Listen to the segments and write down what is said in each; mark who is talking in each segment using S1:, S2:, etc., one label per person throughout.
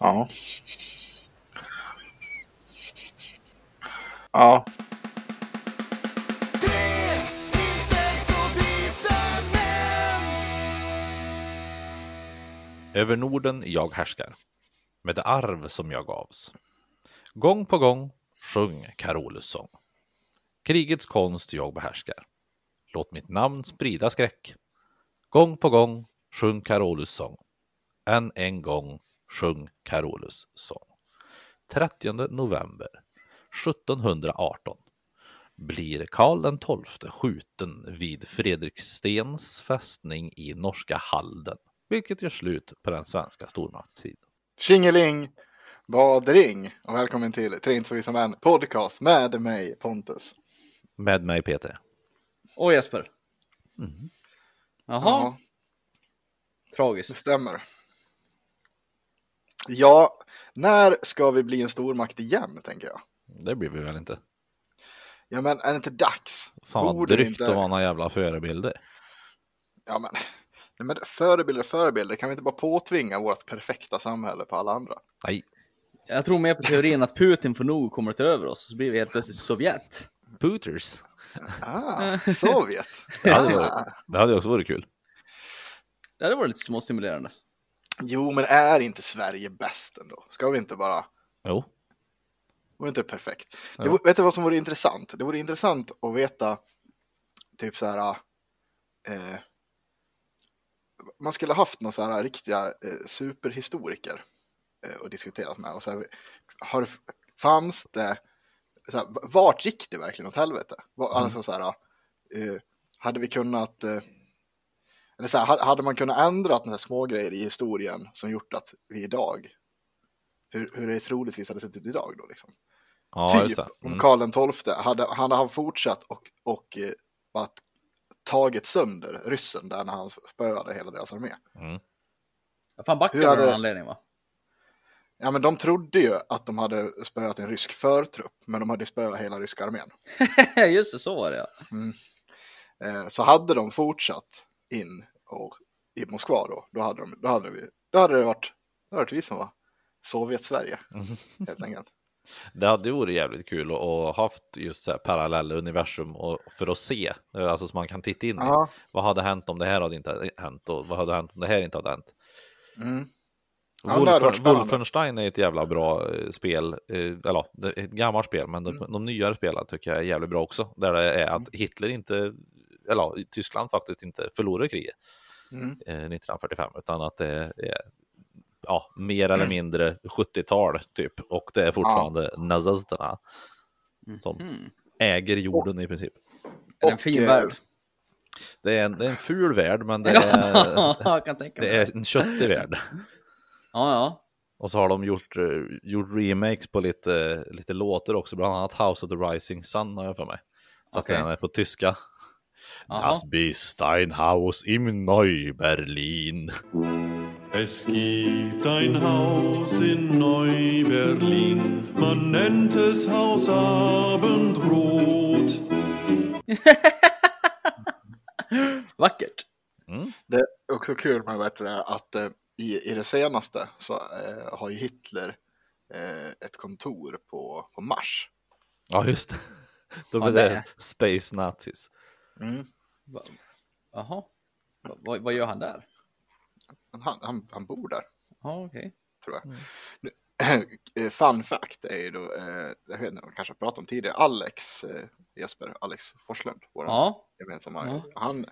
S1: Ja. Ja,
S2: Över Norden jag härskar, med det arv som jag gavs. Gång på gång sjung Carolus sång. Krigets konst jag behärskar. Låt mitt namn sprida skräck. Gång på gång sjung Carolus sång. Än en gång sjung Carolus sång. 30 november 1718 blir Karl den XII skjuten vid Fredrikstens fästning i norska Halden, vilket gör slut på den svenska stormaktstiden.
S1: tjingeling, badring och välkommen till Trins och vissa män podcast med mig Pontus.
S2: Med mig Peter.
S3: Och Jesper. Jaha,
S1: Mm. Ja, det
S3: tragiskt.
S1: stämmer. Ja, när ska vi bli en stormakt igen, tänker jag?
S2: Det blir vi väl inte?
S1: Ja, men är det inte dags?
S2: Fan vad
S1: Borde vi
S2: drygt
S1: inte-
S2: att ha några jävla förebilder.
S1: Ja, men, nej, men förebilder, förebilder, kan vi inte bara påtvinga vårt perfekta samhälle på alla andra?
S2: Nej,
S3: Jag tror mer på teorin att Putin får nog kommer att ta över oss, så blir vi helt plötsligt Sovjet.
S2: Puters.
S1: Ah, Sovjet! Ah.
S2: Det hade, varit, det hade också varit kul.
S3: Det hade varit lite småstimulerande.
S1: Jo, men är inte Sverige bäst ändå? Ska vi inte bara
S2: Jo,
S1: vore inte perfekt. Det
S2: Ja.
S1: vore, vet du vad som vore intressant? Det vore intressant att veta typ så här. Eh, man skulle haft några så här riktiga eh, superhistoriker eh, och diskuterat med. Och så här, har, fanns det, så här, vart gick det verkligen åt helvete? Var, Alltså så här, eh, hade vi kunnat, eh, eller så här, ha- hade man kunnat ändra några små grejer i historien som gjort att vi idag, hur, hur det troligtvis hade sett ut idag då liksom?
S2: ja just
S1: typ
S2: det.
S1: om
S2: Mm.
S1: Karl XII hade han hade fortsatt och, och eh, bara t- tagit sönder ryssen där när han spöade hela deras armé.
S2: Mm.
S3: Fan, backar
S1: Hur
S3: av
S1: hade-
S3: någon anledning va?
S1: Ja, men de trodde ju att de hade spöat en rysk förtrupp, men de hade spöat hela ryska armén.
S3: Just det, så var det ja.
S1: Eh, så hade de fortsatt in och, i Moskva då, då hade, de, då hade, vi, då hade det varit, då hade det varit vi som var Sovjet-Sverige,
S2: Mm.
S1: helt enkelt.
S2: Det hade ju varit jävligt kul att- att haft just så här parallella universum och, för att se, alltså så man kan titta in i.
S1: Ja.
S2: Vad hade hänt om det här hade inte hänt och vad hade hänt om det här inte hade hänt?
S1: Mm. Ja, det hade varit
S2: Wolfen,
S1: spännande.
S2: Wolfenstein är ett jävla bra eh, spel, eh, eller ja, det är ett gammalt spel, men de, de nyare spelen tycker jag är jävligt bra också. Där det är att Hitler inte, eller ja, Tyskland faktiskt inte förlorade kriget
S1: Mm.
S2: eh, 1945, utan att det är ja, mer eller mindre 70-tal typ, och det är fortfarande nazisterna som äger jorden i princip.
S3: Är det en
S1: Och,
S3: fin
S1: eh,
S3: värld?
S2: Det är en, det är en ful värld, men det är,
S3: Ja, jag kan tänka mig.
S2: det är en köttig värld.
S3: Ja, ja.
S2: Och så har de gjort, eh, gjort remakes på lite, lite låter också, bland annat House of the Rising Sun har jag för mig. Så
S3: Okej.
S2: att den är på tyska.
S3: Jaha.
S2: Das bist ein Haus im Neu-Berlin.
S4: Es gibt ein Haus in Neu-Berlin, man nennt es Haus Abendrot.
S3: Vackert.
S1: Det är också kul med vet, du, att eh, i, i det senaste så eh, har ju Hitler eh, ett kontor på, på Mars.
S2: Ja, just det. Då
S3: Ja,
S2: blir
S3: det
S2: det
S3: är-
S2: Space Nazis.
S3: Mm. Va- Jaha. Va- Vad, vad gör han där?
S1: Men Han, han, han bor där,
S3: Ja, okej.
S1: tror jag. Nu, eh, Fun fact är ju då, eh, jag vet inte, vi kanske har pratat om tidigare, Alex eh, Jesper, Alex Forslund, vår
S3: Ja.
S1: gemensamma,
S3: Ja.
S1: han,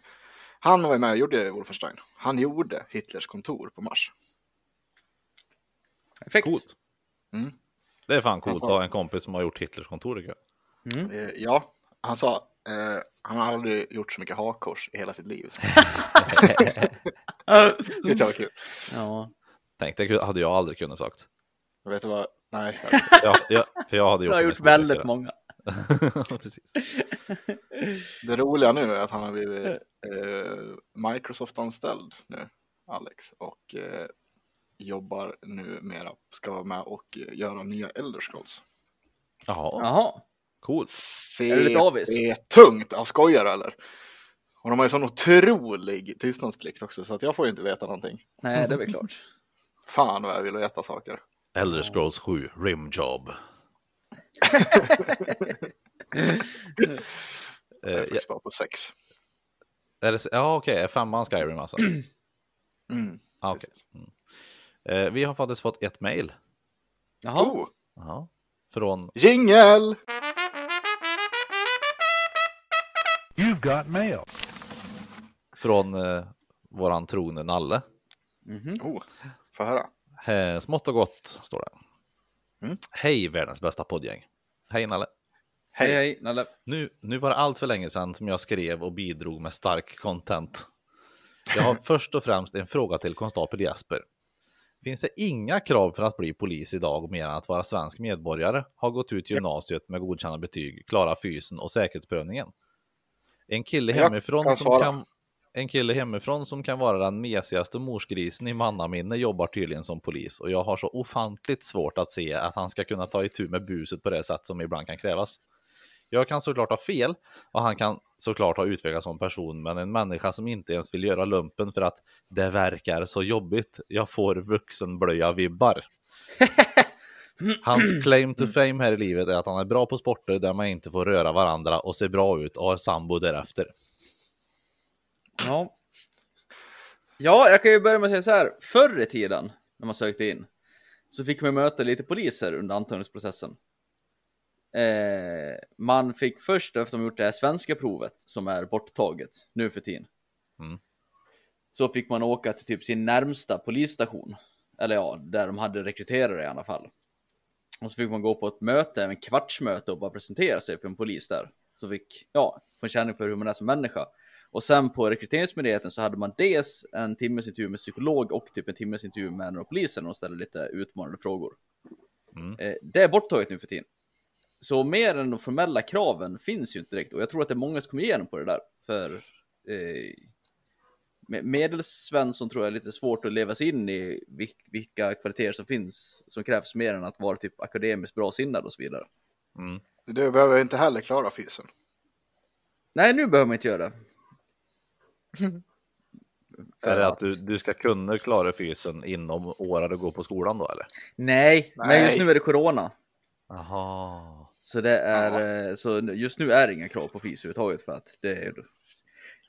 S1: han var ju med och gjorde Wolfenstein. Han gjorde Hitlers kontor på Mars.
S3: Perfekt.
S2: Coolt.
S1: Mm.
S2: Det är fan coolt att
S1: Alltså-
S2: ha en kompis som har gjort Hitlers kontor. tycker jag.
S1: Eh, ja, han sa, eh, han har aldrig gjort så mycket hakkors i hela sitt liv.
S3: Mm.
S1: Det var kul.
S3: Ja.
S2: Tänk, det hade jag aldrig kunnat sagt.
S1: Jag vet du vad? Nej.
S2: Ja, jag, för jag hade
S3: Du
S2: gjort,
S3: har
S2: det med
S3: gjort väldigt många.
S2: småflickor. Precis.
S1: Det roliga nu är att han har blivit eh, Microsoft-anställd nu, Alex, och eh, jobbar nu mera, ska vara med och eh, göra nya Elder Scrolls.
S2: Jaha,
S3: Jaha.
S2: coolt.
S1: Se,
S3: Är det lite avis?
S1: Det är tungt, jag skojar du, eller? Och de har ju sån otrolig tystnadsplikt också, så att jag får ju inte veta någonting.
S3: Nej, det är väl klart.
S1: Fan vad jag vill veta saker.
S2: Elder Scrolls 7, Rimjob.
S1: Jag är
S2: eh,
S1: faktiskt bara på sex.
S2: är det, så- ja, okej, är femman Skyrim alltså?
S1: Mm,
S2: Ah, okej. mm. eh, vi har faktiskt fått ett mejl.
S3: Jaha.
S1: Oh,
S2: Jaha. Från,
S1: jingel!
S5: You've got mail.
S2: från eh, våran trogne Nalle.
S3: Mhm.
S1: Oh, får jag höra.
S2: Eh, smått och gott, står det.
S1: Mm.
S2: Hej, världens bästa poddgäng. Hej Nalle.
S3: Hej,
S1: Hej.
S3: hej, Nalle.
S2: Nu, nu var det allt för länge sedan som jag skrev och bidrog med stark content. Jag har först och främst en fråga till konstapel Jesper. Finns det inga krav för att bli polis idag mer än att vara svensk medborgare, ha gått ut gymnasiet med godkända betyg, klara fysen och säkerhetsprövningen? En kille,
S1: Jag
S2: hemifrån
S1: kan
S2: som
S1: svara.
S2: kan, en kille hemifrån som kan vara den mesigaste morsgrisen i mannaminne jobbar tydligen som polis och jag har så ofantligt svårt att se att han ska kunna ta itu med buset på det sätt som ibland kan krävas. Jag kan såklart ha fel och han kan såklart ha utvecklats som person, men en människa som inte ens vill göra lumpen för att det verkar så jobbigt. Jag får vuxenblöja-vibbar. Hans claim to fame här i livet är att han är bra på sporter där man inte får röra varandra och ser bra ut och har sambo därefter.
S3: Ja. ja, jag kan ju börja med att säga så här. Förr i tiden, när man sökte in, så fick man möta lite poliser under antagningsprocessen. Eh, man fick först, efter de gjort det här svenska provet, som är borttaget nu för tiden,
S2: Mm.
S3: så fick man åka till typ sin närmsta polisstation, eller ja, där de hade rekryterare i alla fall. Och så fick man gå på ett möte, en kvartsmöte och bara presentera sig för en polis där. Så fick, ja, få en känning för hur man är som människa. Och sen på rekryteringsmyndigheten så hade man dels en timmes intervju med psykolog och typ en timmes intervju med en av polisen och ställde lite utmanande frågor.
S2: Mm.
S3: Eh, Det är borttaget nu för tiden. Så mer än de formella kraven finns ju inte direkt och jag tror att det är många som kommer igenom på det där. För eh, med- medelsvensson tror jag är lite svårt att leva sig in i vil- vilka kvaliteter som finns som krävs mer än att vara typ akademiskt bra-sinnad och så vidare.
S2: Mm.
S1: Du behöver inte heller klara fysen.
S3: Nej, nu behöver man inte göra det.
S2: Är det att du, du ska kunna klara fysen inom året du går på skolan då eller?
S3: Nej, men just
S1: Nej.
S3: nu är det corona.
S2: Jaha.
S3: Så, det är, eh, så nu- just nu är det inga krav på FIS överhuvudtaget för att det är...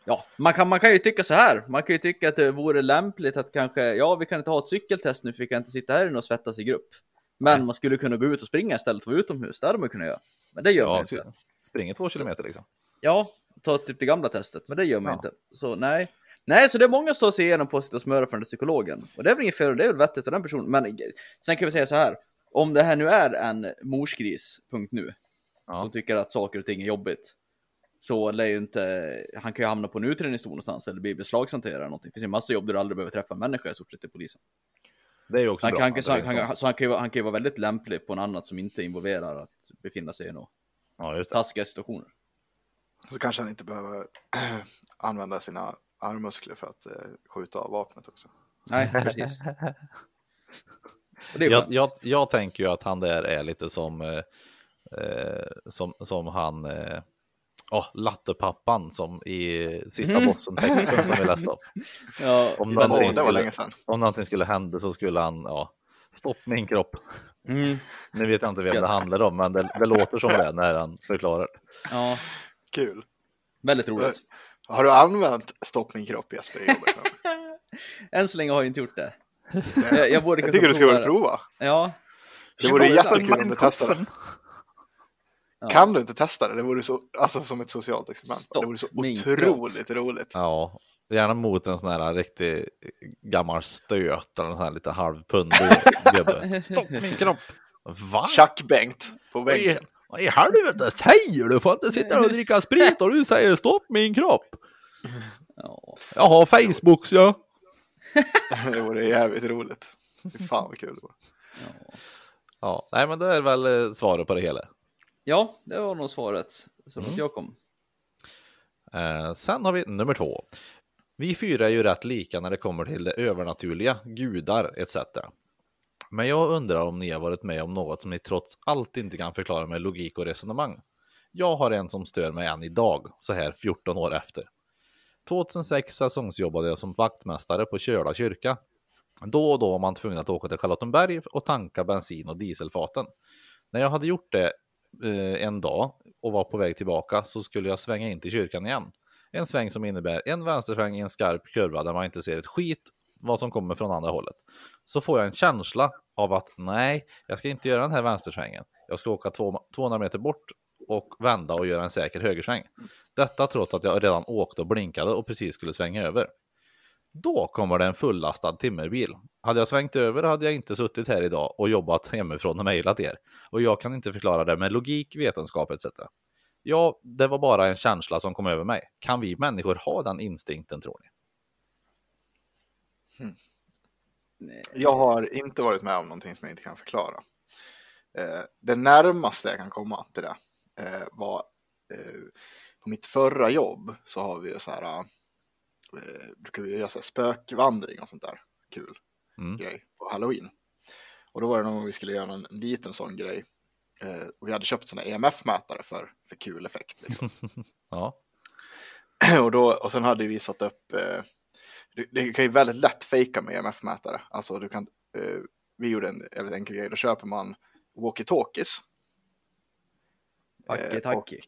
S3: Ja, man kan, man kan ju tycka så här. Man kan ju tycka att det vore lämpligt att kanske, ja, vi kan inte ha ett cykeltest nu för vi kan inte sitta här inne och svettas i grupp. Men man skulle kunna gå ut och springa istället för att vara utomhus. Det hade man kunnat göra. Men det gör man
S2: Ja, typ.
S3: inte.
S2: ty- springer två kilometer liksom.
S3: Ja, ta typ det gamla testet, men det gör man
S2: Ja.
S3: inte. Så nej. Nej, så det är många som står sig igenom på sitt och smöra för den där psykologen. Och det är väl inget fel, det är väl vettigt av den personen. Men eh, sen kan vi säga så här, om det här nu är en morsgris, punkt nu,
S2: Ja.
S3: som tycker att saker och ting är jobbigt, så lär ju inte, han kan ju hamna på en utredningsstol någonstans eller bli beslagshanterare eller någonting. Det finns ju en massa jobb där du aldrig behöver träffa en människa i stort sett i polisen.
S2: Det är ju också
S3: Han
S2: bra.
S3: kan,
S2: att
S3: så,
S2: det är liksom-
S3: han,
S2: en sån-
S3: kan, så han, kan ju, vara- han kan ju vara väldigt lämplig på en annat som inte involverar att befinna sig i några
S2: Ja, just det.
S3: taskiga situationer.
S1: Så kanske han inte behöver använda sina armmuskler för att eh, skjuta av vapnet också.
S3: Nej, precis. Och det är
S2: jag,
S3: skönt.
S2: jag, jag tänker ju att han där är lite som, eh, eh, som, som han, eh, oh, lattepappan som i sista
S3: Mm.
S2: bossen-texten som vi läste upp.
S3: Ja,
S2: Om
S1: Åh,
S2: någonting,
S1: det var
S2: skulle,
S1: länge sedan.
S2: om någonting skulle hända så skulle han, ja, stopp min kropp.
S3: mm,
S2: Nu vet jag inte vem det
S3: Gött.
S2: handlar om, men det, det låter som det när han förklarar.
S3: ja,
S1: Kul.
S3: väldigt roligt.
S1: Har du använt stopp min kropp Jesper i jobbet?
S3: Än så länge har jag inte gjort det. Jag, jag borde
S1: jag
S3: kanske
S1: tycker du ska
S3: prova
S1: väl prova.
S3: det. Ja,
S1: Det vore
S3: Prova
S1: jättekul om du testade. det.
S3: ja.
S1: Kan du inte testa det? Det vore så, alltså som ett socialt experiment.
S3: Stopp
S1: det vore så
S3: min
S1: otroligt roligt.
S2: Ja, gärna mot en sån här riktig gammal stöt eller en sån här lite halvpundig gubbe. Stopp min kropp! Va?
S1: Tjack-Bengt på
S2: Vad i-
S1: bänken.
S2: Vad i helvete säger du? Får inte sitta här och dricka sprit och du säger stopp min kropp.
S3: ja.
S2: Jag har Facebooks ja.
S1: det vore jävligt roligt. Fy fan vad kul det var.
S2: Ja, nej men det är väl eh, svaret på det hela.
S3: ja, det var nog svaret. Så
S1: Mm.
S3: att jag kom.
S2: Eh, sen har vi nummer två. Vi fyra är ju rätt lika när det kommer till det övernaturliga, gudar etc. Men jag undrar om ni har varit med om något som ni trots allt inte kan förklara med logik och resonemang. Jag har en som stör mig än idag, så här 14 år efter. 2006 säsongsjobbade jag som vaktmästare på Köla kyrka. Då och då var man tvungen att åka till Charlottenberg och tanka bensin och dieselfaten. När jag hade gjort det eh, en dag och var på väg tillbaka så skulle jag svänga in till kyrkan igen. En sväng som innebär en vänstersväng i en skarp kurva där man inte ser ett skit vad som kommer från andra hållet. Så får jag en känsla av att nej, jag ska inte göra den här vänstersvängen. Jag ska åka två- 200 meter bort och vända och göra en säker högersväng. Detta trots att jag redan åkte och blinkade och precis skulle svänga över. Då kommer det en fullastad timmerbil. Hade jag svängt över hade jag inte suttit här idag och jobbat hemifrån och mejlat er. Och jag kan inte förklara det med logik, vetenskap etc. Ja, det var bara en känsla som kom över mig. Kan vi människor ha den instinkten tror ni?
S1: Jag har inte varit med om någonting som jag inte kan förklara. Eh, det närmaste jag kan komma till det eh, var eh, på mitt förra jobb så har vi ju så här, eh, brukar vi göra så här spökvandring och sånt där kul
S2: Mm.
S1: grej på halloween. Och då var det någon gång vi skulle göra en liten sån grej. Eh, och vi hade köpt såna EMF-mätare för, för kul effekt. Liksom.
S2: Ja,
S1: och, då, och sen hade vi satt upp, eh, du, det kan ju väldigt lätt fejka med EMF-mätare. Alltså du kan, eh, vi gjorde en jävligt enkel grej, då köper man walkie-talkies.
S3: Tacki,
S1: Eh,
S3: tacki.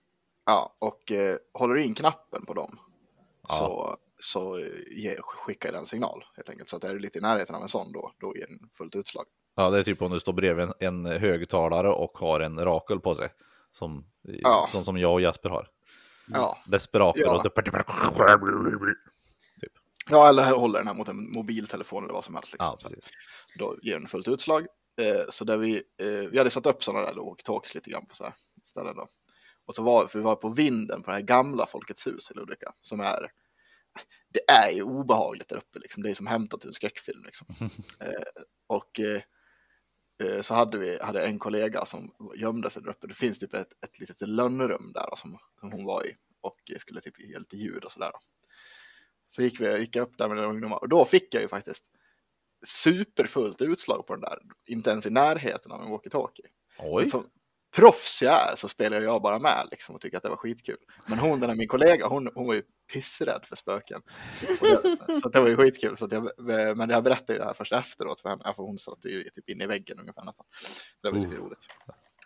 S1: Ja, och eh, håller in knappen på dem
S2: Ja.
S1: så, så eh, ge, skickar den signal helt enkelt. Så att är du lite i närheten av en sån då, då ger den fullt utslag.
S2: ja det är typ om du står bredvid en, en högtalare och har en rakel på sig. Som,
S1: Ja.
S2: som, som jag och Jasper har. Mm.
S1: Ja,
S2: Desperator
S1: Ja.
S2: och... typ-
S1: ja eller håller den här mot en mobiltelefon eller vad som helst. Liksom.
S2: Ja, precis.
S1: då ger den fullt utslag. Eh, så där vi, eh, vi hade satt upp sådana där walkie-talkies lite grann på så här ställen då. Och så var för vi var på vinden på det här gamla Folkets hus i Ludvika som är, det är ju obehagligt där uppe liksom. Det är som hämtat ur en skräckfilm liksom. Eh, och eh, eh, så hade vi, hade en kollega som gömde sig där uppe. Det finns typ ett, ett litet lönnrum där då, som, som hon var i och eh, skulle typ ge lite ljud och sådär. då. Så gick, vi, gick jag upp där med några ungdomar och då fick jag ju faktiskt superfullt utslag på den där, inte ens i närheten av en walkie-talkie.
S2: Oj,
S1: Men Som proffs jag är så spelar jag bara med liksom och tycker att det var skitkul. Men hon, den där min kollega, hon, hon var ju pissrädd för spöken. Och det, så att det var ju skitkul. Så att jag, men jag berättade ju det här först efteråt för henne, för hon satt ju typ inne i väggen ungefär nästan. Det var lite roligt.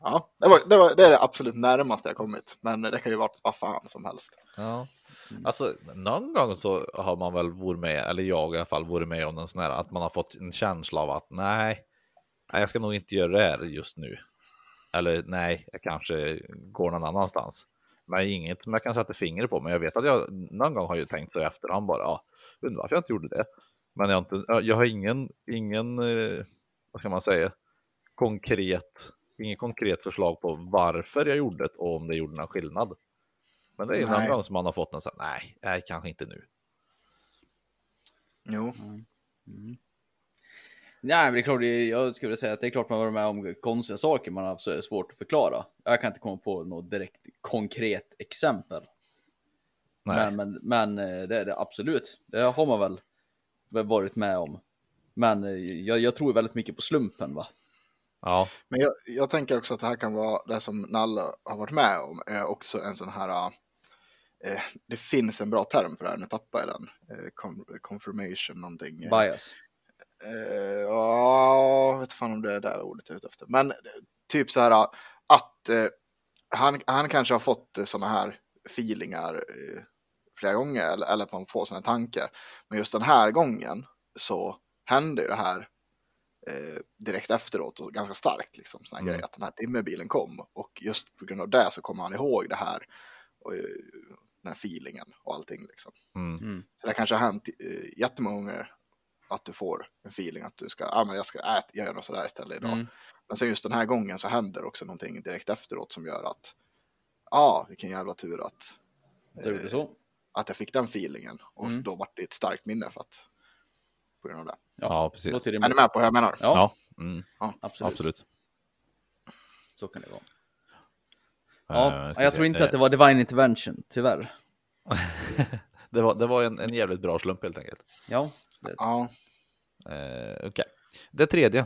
S1: Ja, det, var, det, var, det är det absolut närmaste jag kommit, men det kan ju vara vad fan som helst.
S2: Ja.
S1: Mm.
S2: Alltså, någon gång så har man väl varit med, eller jag i alla fall, varit med om en sån här, att man har fått en känsla av att nej, nej, jag ska nog inte göra det här just nu. Eller nej, jag kanske går någon annanstans. Men inget som jag kan sätta fingret på, men jag vet att jag någon gång har ju tänkt så i efterhand bara, ja, undrar varför jag inte gjorde det. Men jag har, inte, jag har ingen, ingen, eh, vad ska man säga, konkret, inget konkret förslag på varför jag gjorde det och om det gjorde någon skillnad. Men det är någon
S1: Nej.
S2: gång som man har fått en sån här, nej, nej, kanske inte nu.
S1: Jo,
S3: Nej, men det är klart, det- jag skulle säga att det är klart man har varit med om konstiga saker man har haft så svårt att förklara. Jag kan inte komma på något direkt konkret exempel.
S2: Nej.
S3: Men, men, men eh, det är det absolut. Det har man väl väl varit med om. Men eh, jag, jag tror väldigt mycket på slumpen va?
S2: Ja,
S1: Men jag, jag tänker också att det här kan vara det som Nalle har varit med om, är också en sån här, eh, det finns en bra term för det här, nu tappar jag den, eh, con- confirmation någonting.
S3: Bias.
S1: Eh, Ja, jag vet fan om det är det där ordet jag är ute efter. Men eh, typ så här att eh, han, han kanske har fått eh, såna här feelingar eh, flera gånger eller, eller att man får såna här tankar. Men just den här gången så hände ju det här eh, direkt efteråt och ganska starkt liksom. Sån här
S2: Mm.
S1: grej att den här timmerbilen kom och just på grund av det så kommer han ihåg det här och eh, den här feelingen och allting liksom.
S2: mm.
S1: Så det kanske har hänt eh, jättemånga gånger att du får en feeling att du ska, ja ah, men jag ska äta, jag gör något sådär istället idag.
S3: Mm.
S1: Men sen just den här gången så händer också någonting direkt efteråt som gör att, ja ah, vilken jävla tur att,
S3: Jag gjorde så.
S1: att jag fick den feelingen och
S3: Mm.
S1: då vart det ett starkt minne för att, på grund av det.
S2: ja. precis.
S3: Låter
S1: Är ni
S3: rimligt.
S1: med på hur jag menar?
S3: Ja,
S2: Mm. Ja, mm,
S3: absolut.
S2: absolut.
S3: Så kan det vara.
S2: Eh,
S3: Ja,
S2: ska
S3: jag
S2: se.
S3: tror inte
S2: Eh,
S3: att det var Divine Intervention, tyvärr.
S2: det var, det var en, en jävligt bra slump helt enkelt.
S3: Ja, det,
S1: Ja,
S2: Eh, okej. Det tredje.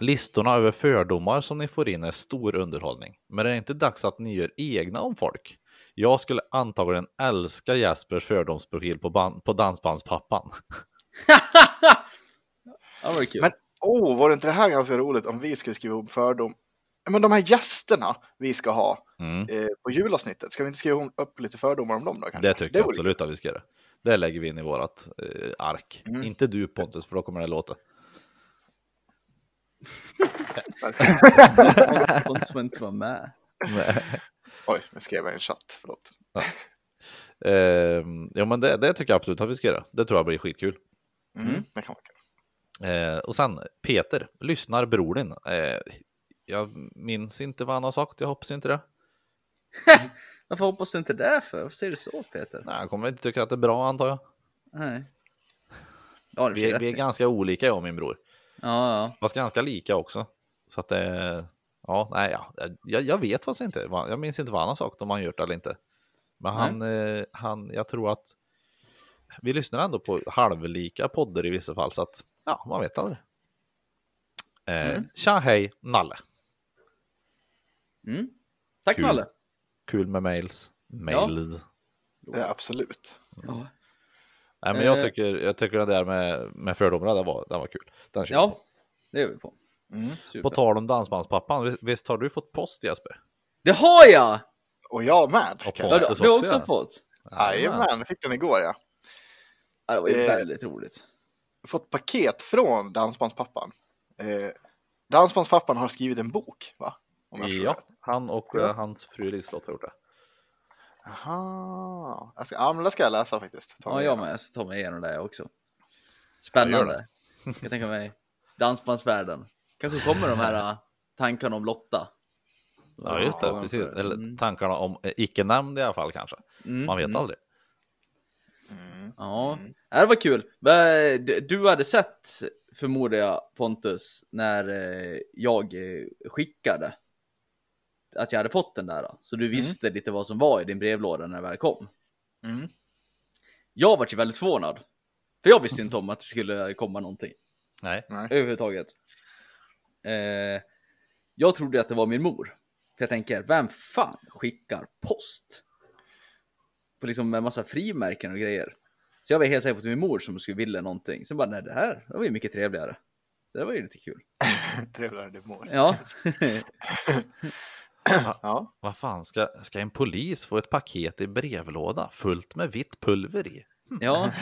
S2: Listorna över fördomar som ni får in är stor underhållning. Men är det inte dags att ni gör egna om folk? Jag skulle antagligen älska Jespers fördomsprofil på, ban- på Dansbandspappan.
S3: Ja, det var ju kul.
S1: Men- Åh, oh, var det inte det här ganska roligt om vi skulle skriva ihop fördom? Men de här gästerna vi ska ha
S2: Mm.
S1: eh, på julavsnittet, ska vi inte skriva upp lite fördomar om dem då? Kanske?
S2: Det tycker jag
S1: vore
S2: absolut att vi ska göra. Det lägger vi in i vårt eh, ark.
S1: Mm.
S2: Inte du Pontus, för då kommer det låta.
S3: Pontus får inte vara med.
S1: Oj, nu skrev jag i en chatt, förlåt.
S2: Eh, jo, men det, det tycker jag absolut att vi ska göra. Det tror jag blir skitkul.
S1: Mm. Det kan vara kul.
S2: Eh, och sen Peter, lyssnar bror din. Eh, jag minns inte vad han har sagt, jag hoppas inte det.
S3: Varför hoppas du inte det för? Varför säger du så Peter?
S2: Nej, han kommer inte tycka att det är bra antar jag.
S3: Nej. Ja, det
S2: Vi, är- vi är
S3: ja,
S2: ganska olika jag och min bror.
S3: ja.
S2: Fast ganska lika också. Så att det... Ja, nej, ja. Jag, jag vet faktiskt inte. vad- Jag minns inte vad han har sagt, om han gjort det eller inte. Men
S3: Nej.
S2: han, eh, han, jag tror att vi lyssnar ändå på halvlika poddar i vissa fall, så att ja, man vet aldrig. Eh, Tja, hej, Nalle.
S3: Mm. Tack
S2: Kul.
S3: Nalle.
S2: Kul med mails. Mails.
S1: Ja, absolut.
S3: Ja.
S2: Nej, men jag
S3: Eh.
S2: tycker, jag tycker det där med, med fördomarna, det var, det var kul. Den kör vi på.
S3: ja, det gör vi på.
S1: Mm.
S3: Super.
S2: På tal om dansbandspappan, vis- visst har du fått post Jesper?
S3: Det har jag!
S1: Och jag med.
S2: Och
S1: kanske.
S3: Ja,
S2: Pontus
S3: du, du har också
S2: ja.
S3: fått.
S1: Jajamän, fick den igår ja.
S3: Ja, det var ju
S1: Eh.
S3: väldigt roligt.
S1: Fått paket från Dansbandspappan. Eh, Dansbandspappan har skrivit en bok, va? Om jag förstår
S2: Ja,
S1: rätt.
S2: han och
S1: Ja.
S2: eh, hans fru Liselott har gjort det.
S1: Aha. Jag ska, ja, men det ska jag läsa faktiskt. Ta
S3: Ja,
S1: mig
S3: jag
S1: igenom.
S3: med. Jag ska ta mig igenom det också.
S2: Ja, gör
S3: Spännande. Jag kan tänka mig dansbandsvärlden. Kanske kommer de här äh, tankarna om Lotta.
S2: Ja, just det.
S3: Ja,
S2: Precis.
S3: för-
S2: Eller
S3: mm.
S2: tankarna om eh, icke-namn i alla fall kanske.
S3: Mm,
S2: Man vet
S3: mm.
S2: aldrig.
S1: Mm.
S3: Ja, det var kul. Va- d- Du hade sett, förmodar jag, Pontus, när eh, jag eh, skickade att jag hade fått den där. då. Så
S2: Mm.
S3: du visste lite vad som var i din brevlåda när det väl kom.
S1: Mm.
S3: Jag var ju väldigt förvånad. För jag visste inte om att det skulle komma någonting
S2: Nej.
S3: överhuvudtaget. Eh, jag trodde att det var min mor. För jag tänker, vem fan skickar post? På liksom en massa frimärken och grejer. Så jag var helt säker på att det var min mor som skulle vilja någonting. Sen bara, nej det här det var ju mycket trevligare. Det var ju lite kul.
S1: Trevligare det mår.
S3: Ja,
S1: Ja.
S2: Vad fan, ska, ska en polis få ett paket i brevlåda fullt med vitt pulver i?
S3: ja.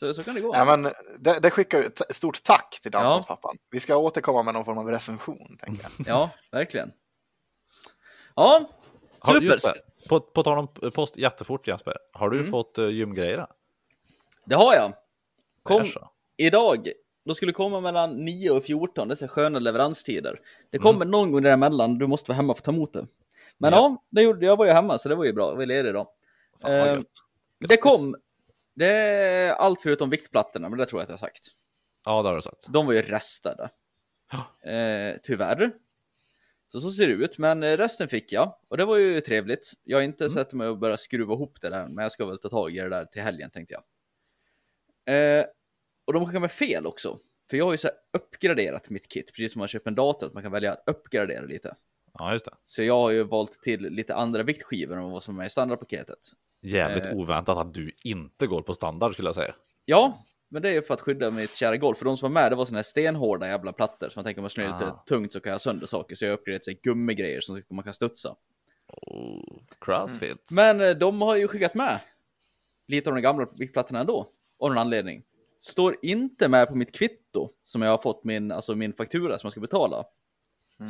S3: Så, så kan det gå.
S1: Ja, men det, det skickar vi ett stort tack till
S3: Ja.
S1: Dansbandspappan. Vi ska återkomma med någon form av recension, tänker jag.
S3: Ja, verkligen. Ja,
S2: Har,
S3: super.
S2: just det, på, på tal om post jättefort Jesper, har du
S3: Mm.
S2: fått uh, gymgrejer? då?
S3: Det har jag.
S2: Det
S3: Kom
S2: är så.
S3: idag. Då skulle det komma mellan 9 och 14. Det är så här sköna leveranstider. Det kommer någon gång däremellan. Du måste vara hemma för att ta emot det. Men ja,
S2: Mm. Ja.
S3: det gjorde, jag var ju hemma så det var ju bra. Jag var ledig då.
S2: Fan, vad
S3: Eh,
S2: gött.
S3: Det
S2: Grattis.
S3: kom. Det är allt förutom viktplattorna, men det tror jag att jag har sagt.
S2: Ja, det har du sagt.
S3: De var ju restade. Eh, tyvärr. Så så ser det ut, men eh, resten fick jag och det var ju trevligt. Jag har inte sett mig att börja skruva ihop det där, men jag ska väl ta tag i det där till helgen tänkte jag. Eh, och de skickade mig fel också, för jag har ju så här uppgraderat mitt kit, precis som man köper en dator, att man kan välja att uppgradera lite.
S2: Ja, just det.
S3: Så jag har ju valt till lite andra viktskivor än vad som är i standardpaketet.
S2: Jävligt
S3: Eh.
S2: oväntat att du inte går på standard skulle jag säga.
S3: Ja, men det är ju för att skydda mitt kära golv. För de som var med, det var såna här stenhårda jävla plattor. Så man tänker om jag snurrar lite
S2: Ah.
S3: tungt så kan jag sönder saker. Så jag har uppgraderat sig gummigrejer som man kan studsa.
S2: Oh, crossfit.
S3: Men eh, de har ju skickat med lite av de gamla viktplattorna ändå. Av någon anledning. Står inte med på mitt kvitto som jag har fått min, alltså min faktura som jag ska betala.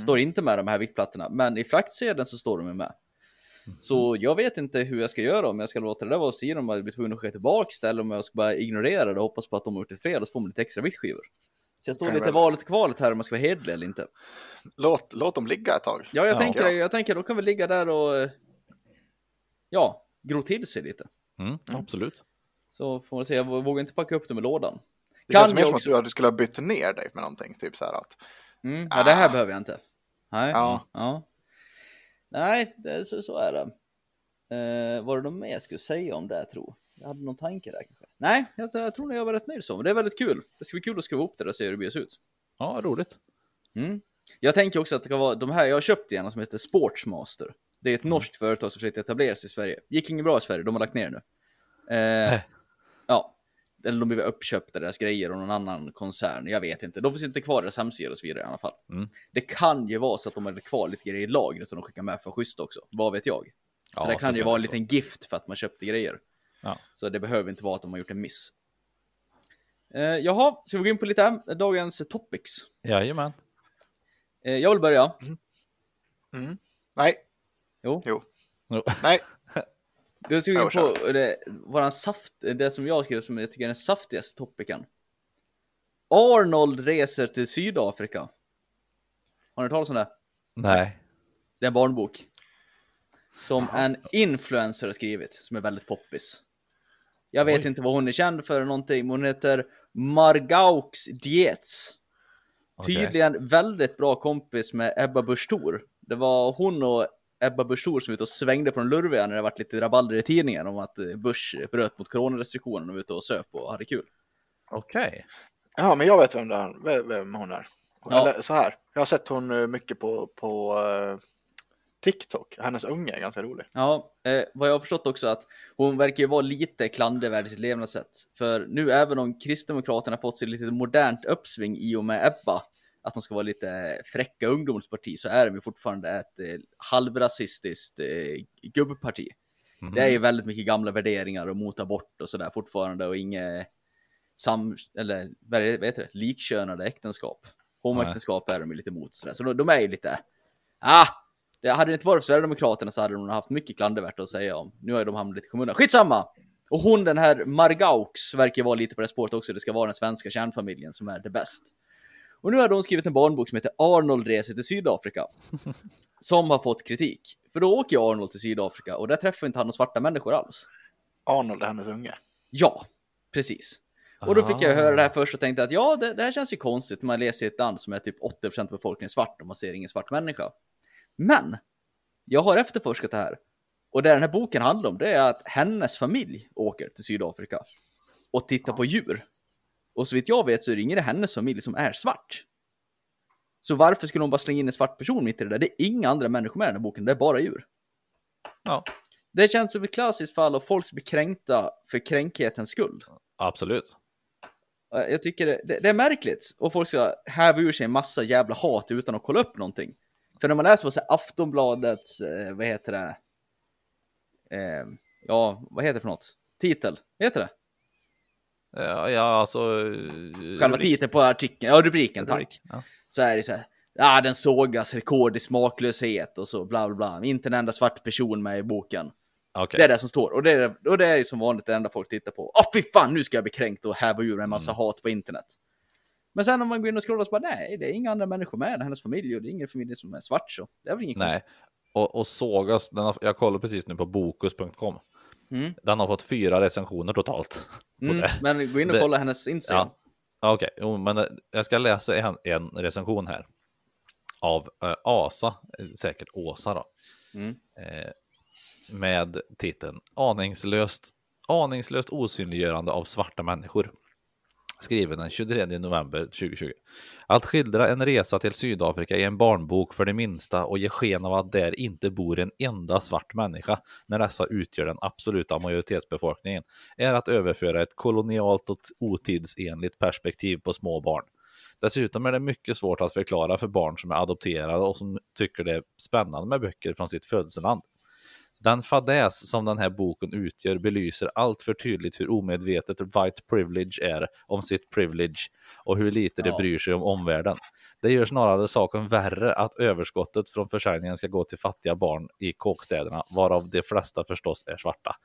S3: Står inte med de här viktplattorna, men i fraktsedeln så står de ju med. Så jag vet inte hur jag ska göra, om jag ska låta det där vara och se om jag blir tvungen att skicka tillbaka det eller om jag ska bara ignorera det och hoppas på att de har gjort ett fel och så får man lite extra viktskivor. Så jag står
S1: Kan
S3: lite
S1: väl-
S3: valet och kvalet här om jag ska vara hederlig eller inte.
S1: Låt, låt dem ligga ett tag.
S3: Ja, jag,
S2: Ja.
S3: tänker, det. jag tänker då kan vi ligga där och eh, ja, gro till sig lite.
S2: Mm, absolut.
S3: Så får man se, jag vågar inte packa upp dem i lådan.
S1: Det
S3: Kan
S1: känns mer
S3: jag
S1: som
S3: också-
S1: att du, du skulle ha bytt ner dig med någonting. Typ så här att,
S3: Mm. Ja, det här
S1: Ah.
S3: behöver jag inte. Nej,
S1: Ja.
S3: ja. Nej det, så, så är det. Eh, var det något mer jag skulle säga om det, tror jag? hade någon tanke där kanske. Nej, jag, jag tror att jag var rätt nöjd så. Men det är väldigt kul. Det ska bli kul att skruva ihop det där och se hur det blir ut.
S2: Ja, roligt.
S3: Mm. Jag tänker också att det kan vara de här jag har köpt igen som heter Sportsmaster. Det är ett norskt företag som försökte etablera sig i Sverige. Gick inget bra i Sverige, de har lagt ner nu. Eh,
S2: Nej.
S3: ja. eller de blev uppköpta deras grejer av någon annan koncern. Jag vet inte. De finns inte kvar i deras hemsidor och så vidare i alla fall.
S2: Mm.
S3: Det kan ju vara så att de hade kvar lite grejer i lagret som de skickar med för schysst också. Vad vet jag? Så
S2: Ja, alltså.
S3: det kan ju
S2: det
S3: vara en
S2: också.
S3: liten gift för att man köpte grejer.
S2: Ja.
S3: Så det behöver inte vara att de har gjort en miss. Eh, jaha, ska vi gå in på lite eh, dagens topics?
S2: Jajamän.
S3: Eh, jag vill börja.
S1: Mm. Nej,
S3: Jo,
S2: Jo.
S1: nej.
S3: jag ska gå
S1: Ja,
S3: in
S1: kör.
S3: på det, våran saft, eh, det som jag har skrivit som jag tycker är den saftigaste topicen. Arnold reser till Sydafrika. Har ni hört talas om det?
S2: Nej.
S3: Det är en barnbok. Som en influencer har skrivit, som är väldigt poppis. Jag vet
S2: Oj.
S3: inte vad hon är känd för eller någonting, men hon heter Margaux Dietz.
S2: okej.
S3: Tydligen väldigt bra kompis med Ebba Busch Thor. Det var hon och Ebba Busch Thor som var ute och svängde på den lurviga när det varit lite rabalder i tidningen om att eh, Busch bröt mot coronarestriktionerna och var ute och söp och hade kul.
S2: Okej.
S1: Ja, men jag vet vem, det är, vem- vem hon är.
S3: Ja.
S1: Eller så här, jag har sett hon eh, mycket på, på eh, TikTok. Hennes unge är ganska rolig.
S3: Ja, eh, vad jag har förstått också att hon verkar ju vara lite klandervärd i sitt levnadssätt. För nu även om Kristdemokraterna fått sig lite modernt uppsving i och med Ebba, att de ska vara lite eh, fräcka ungdomsparti, så är de ju fortfarande ett eh, halvrasistiskt eh, gubbparti.
S2: Mhm.
S3: Det är ju väldigt mycket gamla värderingar och mot abort och sådär fortfarande och inget sam eller vad är det- vad heter det? Likkönade äktenskap. Homoäktenskap är de ju lite emot sådär. Så de, de är ju lite. Ah, det hade det inte varit för Sverigedemokraterna så hade de nog haft mycket klandervärt att säga om. Nu har ju de hamnat lite i kommunen. Skitsamma! Och hon den här Margaux verkar ju vara lite på det spåret också. Det ska vara den svenska kärnfamiljen som är det bäst. Och nu har de skrivit en barnbok som heter Arnold reser till Sydafrika som har fått kritik. För då åker ju Arnold till Sydafrika och där träffar inte han några svarta människor alls.
S1: Arnold är hennes unge.
S3: Ja, precis. Och då fick jag
S2: Ah.
S3: höra det här först och tänkte att ja, det, det här känns ju konstigt. Man läser i ett land som är typ 80% av befolkningen är svart och man ser ingen svart människa. Men jag har efterforskat det här och det den här boken handlar om det är att hennes familj åker till Sydafrika och tittar
S2: Ah.
S3: på djur. Och så vitt jag vet så är det ingen i hennes familj som är svart. Så varför skulle hon bara slänga in en svart person mitt i det där? Det är inga andra människor med i den här boken, det är bara djur.
S2: Ja,
S3: Det känns som ett klassiskt fall av folk som blir kränkta för kränkighetens skull.
S2: absolut.
S3: Eh, Jag tycker det, det, det är märkligt. Och folk ska häva ur sig en massa jävla hat utan att kolla upp någonting. För när man läser på så här Aftonbladets, eh, vad heter det? Eh, ja, vad heter det för något? Titel? Vad heter det?
S2: Ja, ja alltså...
S3: Själva titeln på artikeln, ja rubriken, tack.
S2: Tack. Ja.
S3: så är det så här. Ah, den sågas rekord i smaklöshet och så bla bla bla. Inte en enda svart person med i boken.
S2: Okej.
S3: Det är det som står. Och det är, och det är ju som vanligt det enda folk tittar på. Ah fy fan, nu ska jag bli kränkt och häva ur en
S2: Mm.
S3: massa hat på internet. Men sen om man går in och scrollar så bara nej, det är inga andra människor med. Hennes familj och det är ingen familj som är svart så. Det är väl inget
S2: Nej.
S3: konstigt.
S2: Och, och sågas, den har, jag kollar precis nu på bokus.com.
S3: Mm.
S2: Den har fått fyra recensioner totalt. på
S3: Mm,
S2: det.
S3: men gå in och
S2: Det-
S3: kolla hennes Instagram.
S2: Ja. Ja, Okej, Jo, men eh, jag ska läsa en, en recension här. Av eh, Asa, eh, säkert Åsa då.
S3: Mm.
S2: Eh, med titeln aningslöst, aningslöst osynliggörande av svarta människor. Skriven den 23 november 2020. Att skildra en resa till Sydafrika i en barnbok för det minsta och ge sken av att där inte bor en enda svart människa när dessa utgör den absoluta majoritetsbefolkningen är att överföra ett kolonialt och otidsenligt perspektiv på små barn. Dessutom är det mycket svårt att förklara för barn som är adopterade och som tycker det är spännande med böcker från sitt födelseland. Den fadäs som den här boken utgör belyser allt för tydligt hur omedvetet white privilege är om sitt privilege och hur lite det
S3: Ja.
S2: bryr sig om omvärlden. Det gör snarare saken värre att överskottet från försäljningen ska gå till fattiga barn i kåkstäderna, varav de flesta förstås är svarta.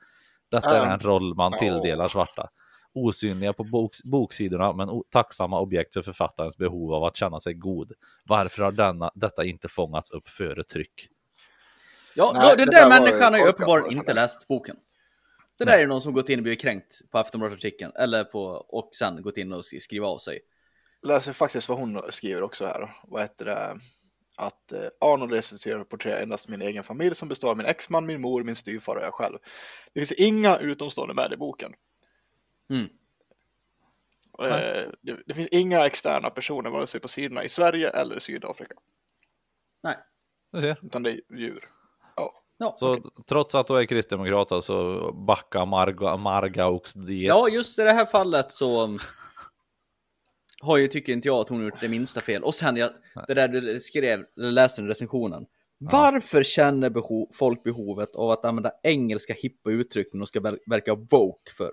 S2: Detta är
S1: Ja.
S2: en roll man
S1: Ja.
S2: tilldelar svarta. Osynliga på boks- boksidorna, men o- tacksamma objekt för författarens behov av att känna sig god. Varför har denna, detta inte fångats upp före tryck?
S3: Ja,
S1: Nej,
S3: då, den
S1: det
S3: där
S1: där var
S3: människan har ju
S1: korkat,
S3: uppenbarligen
S1: var det.
S3: inte läst boken. Det där
S2: Nej.
S3: är någon som gått in och blivit kränkt på Aftonbladet-artikeln eller på och sen gått in och sk- skrivit av sig.
S1: Läser faktiskt vad hon skriver också här. Vad heter det? Att eh, Arnold recenserar och porträtterar endast min egen familj som består av min exman, min mor, min styvfar och jag själv. Det finns inga utomstående med i boken.
S3: Mm.
S1: Eh, det, det finns inga externa personer vare sig på sidorna i Sverige eller i Sydafrika.
S3: Nej.
S2: Du ser.
S1: Utan det är djur. Ja.
S3: Ja,
S2: Så
S3: okej.
S2: trots att du är kristdemokrat så backa Marga, Margaux diet.
S3: ja just i det här fallet så um, har ju, tycker inte jag att hon har gjort det minsta fel. Och sen jag, det där du skrev, eller läste i recensionen. Varför känner beho- folk behovet av att använda engelska hippa uttryck när de ska ver- verka woke för?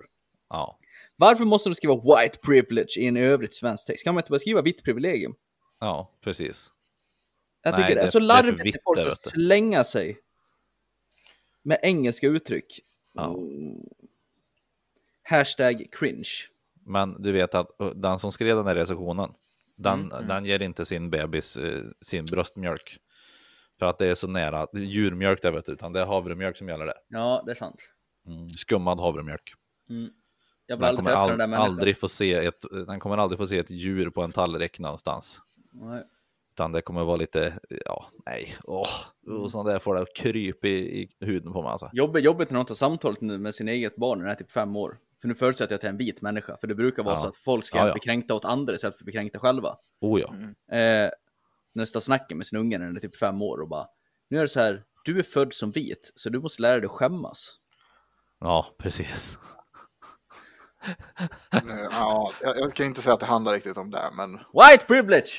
S2: Ja.
S3: Varför måste de skriva white privilege i en i övrigt svensk text? Kan man inte bara skriva vitt privilegium?
S2: ja, precis.
S3: Jag
S2: Nej,
S3: tycker det,
S2: det-
S3: är så
S2: det är för
S3: larvigt
S2: vitt
S3: att folk
S2: det,
S3: ska
S2: vet du.
S3: slänga sig med engelska uttryck.
S2: Ja.
S3: Mm. Hashtag cringe.
S2: Men du vet att uh, den som skrev den här recensionen, den,
S3: Mm,
S2: den ger inte sin bebis eh, sin bröstmjölk. För att det är så nära det är djurmjölk där vet du, utan det är havremjölk som gäller där.
S3: Ja, det är sant.
S2: Mm. Skummad havremjölk.
S3: Jag vill
S2: Den
S3: aldrig
S2: kommer
S3: träffa
S2: all,
S3: den där människan.
S2: aldrig få se ett, den kommer aldrig få se ett djur på en tallrik någonstans.
S3: Nej.
S2: Utan det kommer vara lite, ja, nej, åh,
S3: Mm.
S2: och sånt där får det kryp i, i huden på mig alltså.
S3: Jobbigt, jobbigt när de tar samtalet nu med sin eget barn när den är typ fem år. För nu förutsätter jag att jag är en vit människa. För det brukar vara
S2: Ja.
S3: så att folk ska
S2: Ja, ja.
S3: bli kränkta åt andra istället för att bli kränkta själva.
S2: Oh ja.
S3: eh, nästa snacken med sin unge när den är typ fem år och bara Nu är det så här, du är född som vit så du måste lära dig att skämmas.
S2: Ja, precis.
S1: Eh, Ja, jag, jag kan inte säga att det handlar riktigt om det, men
S3: White privilege!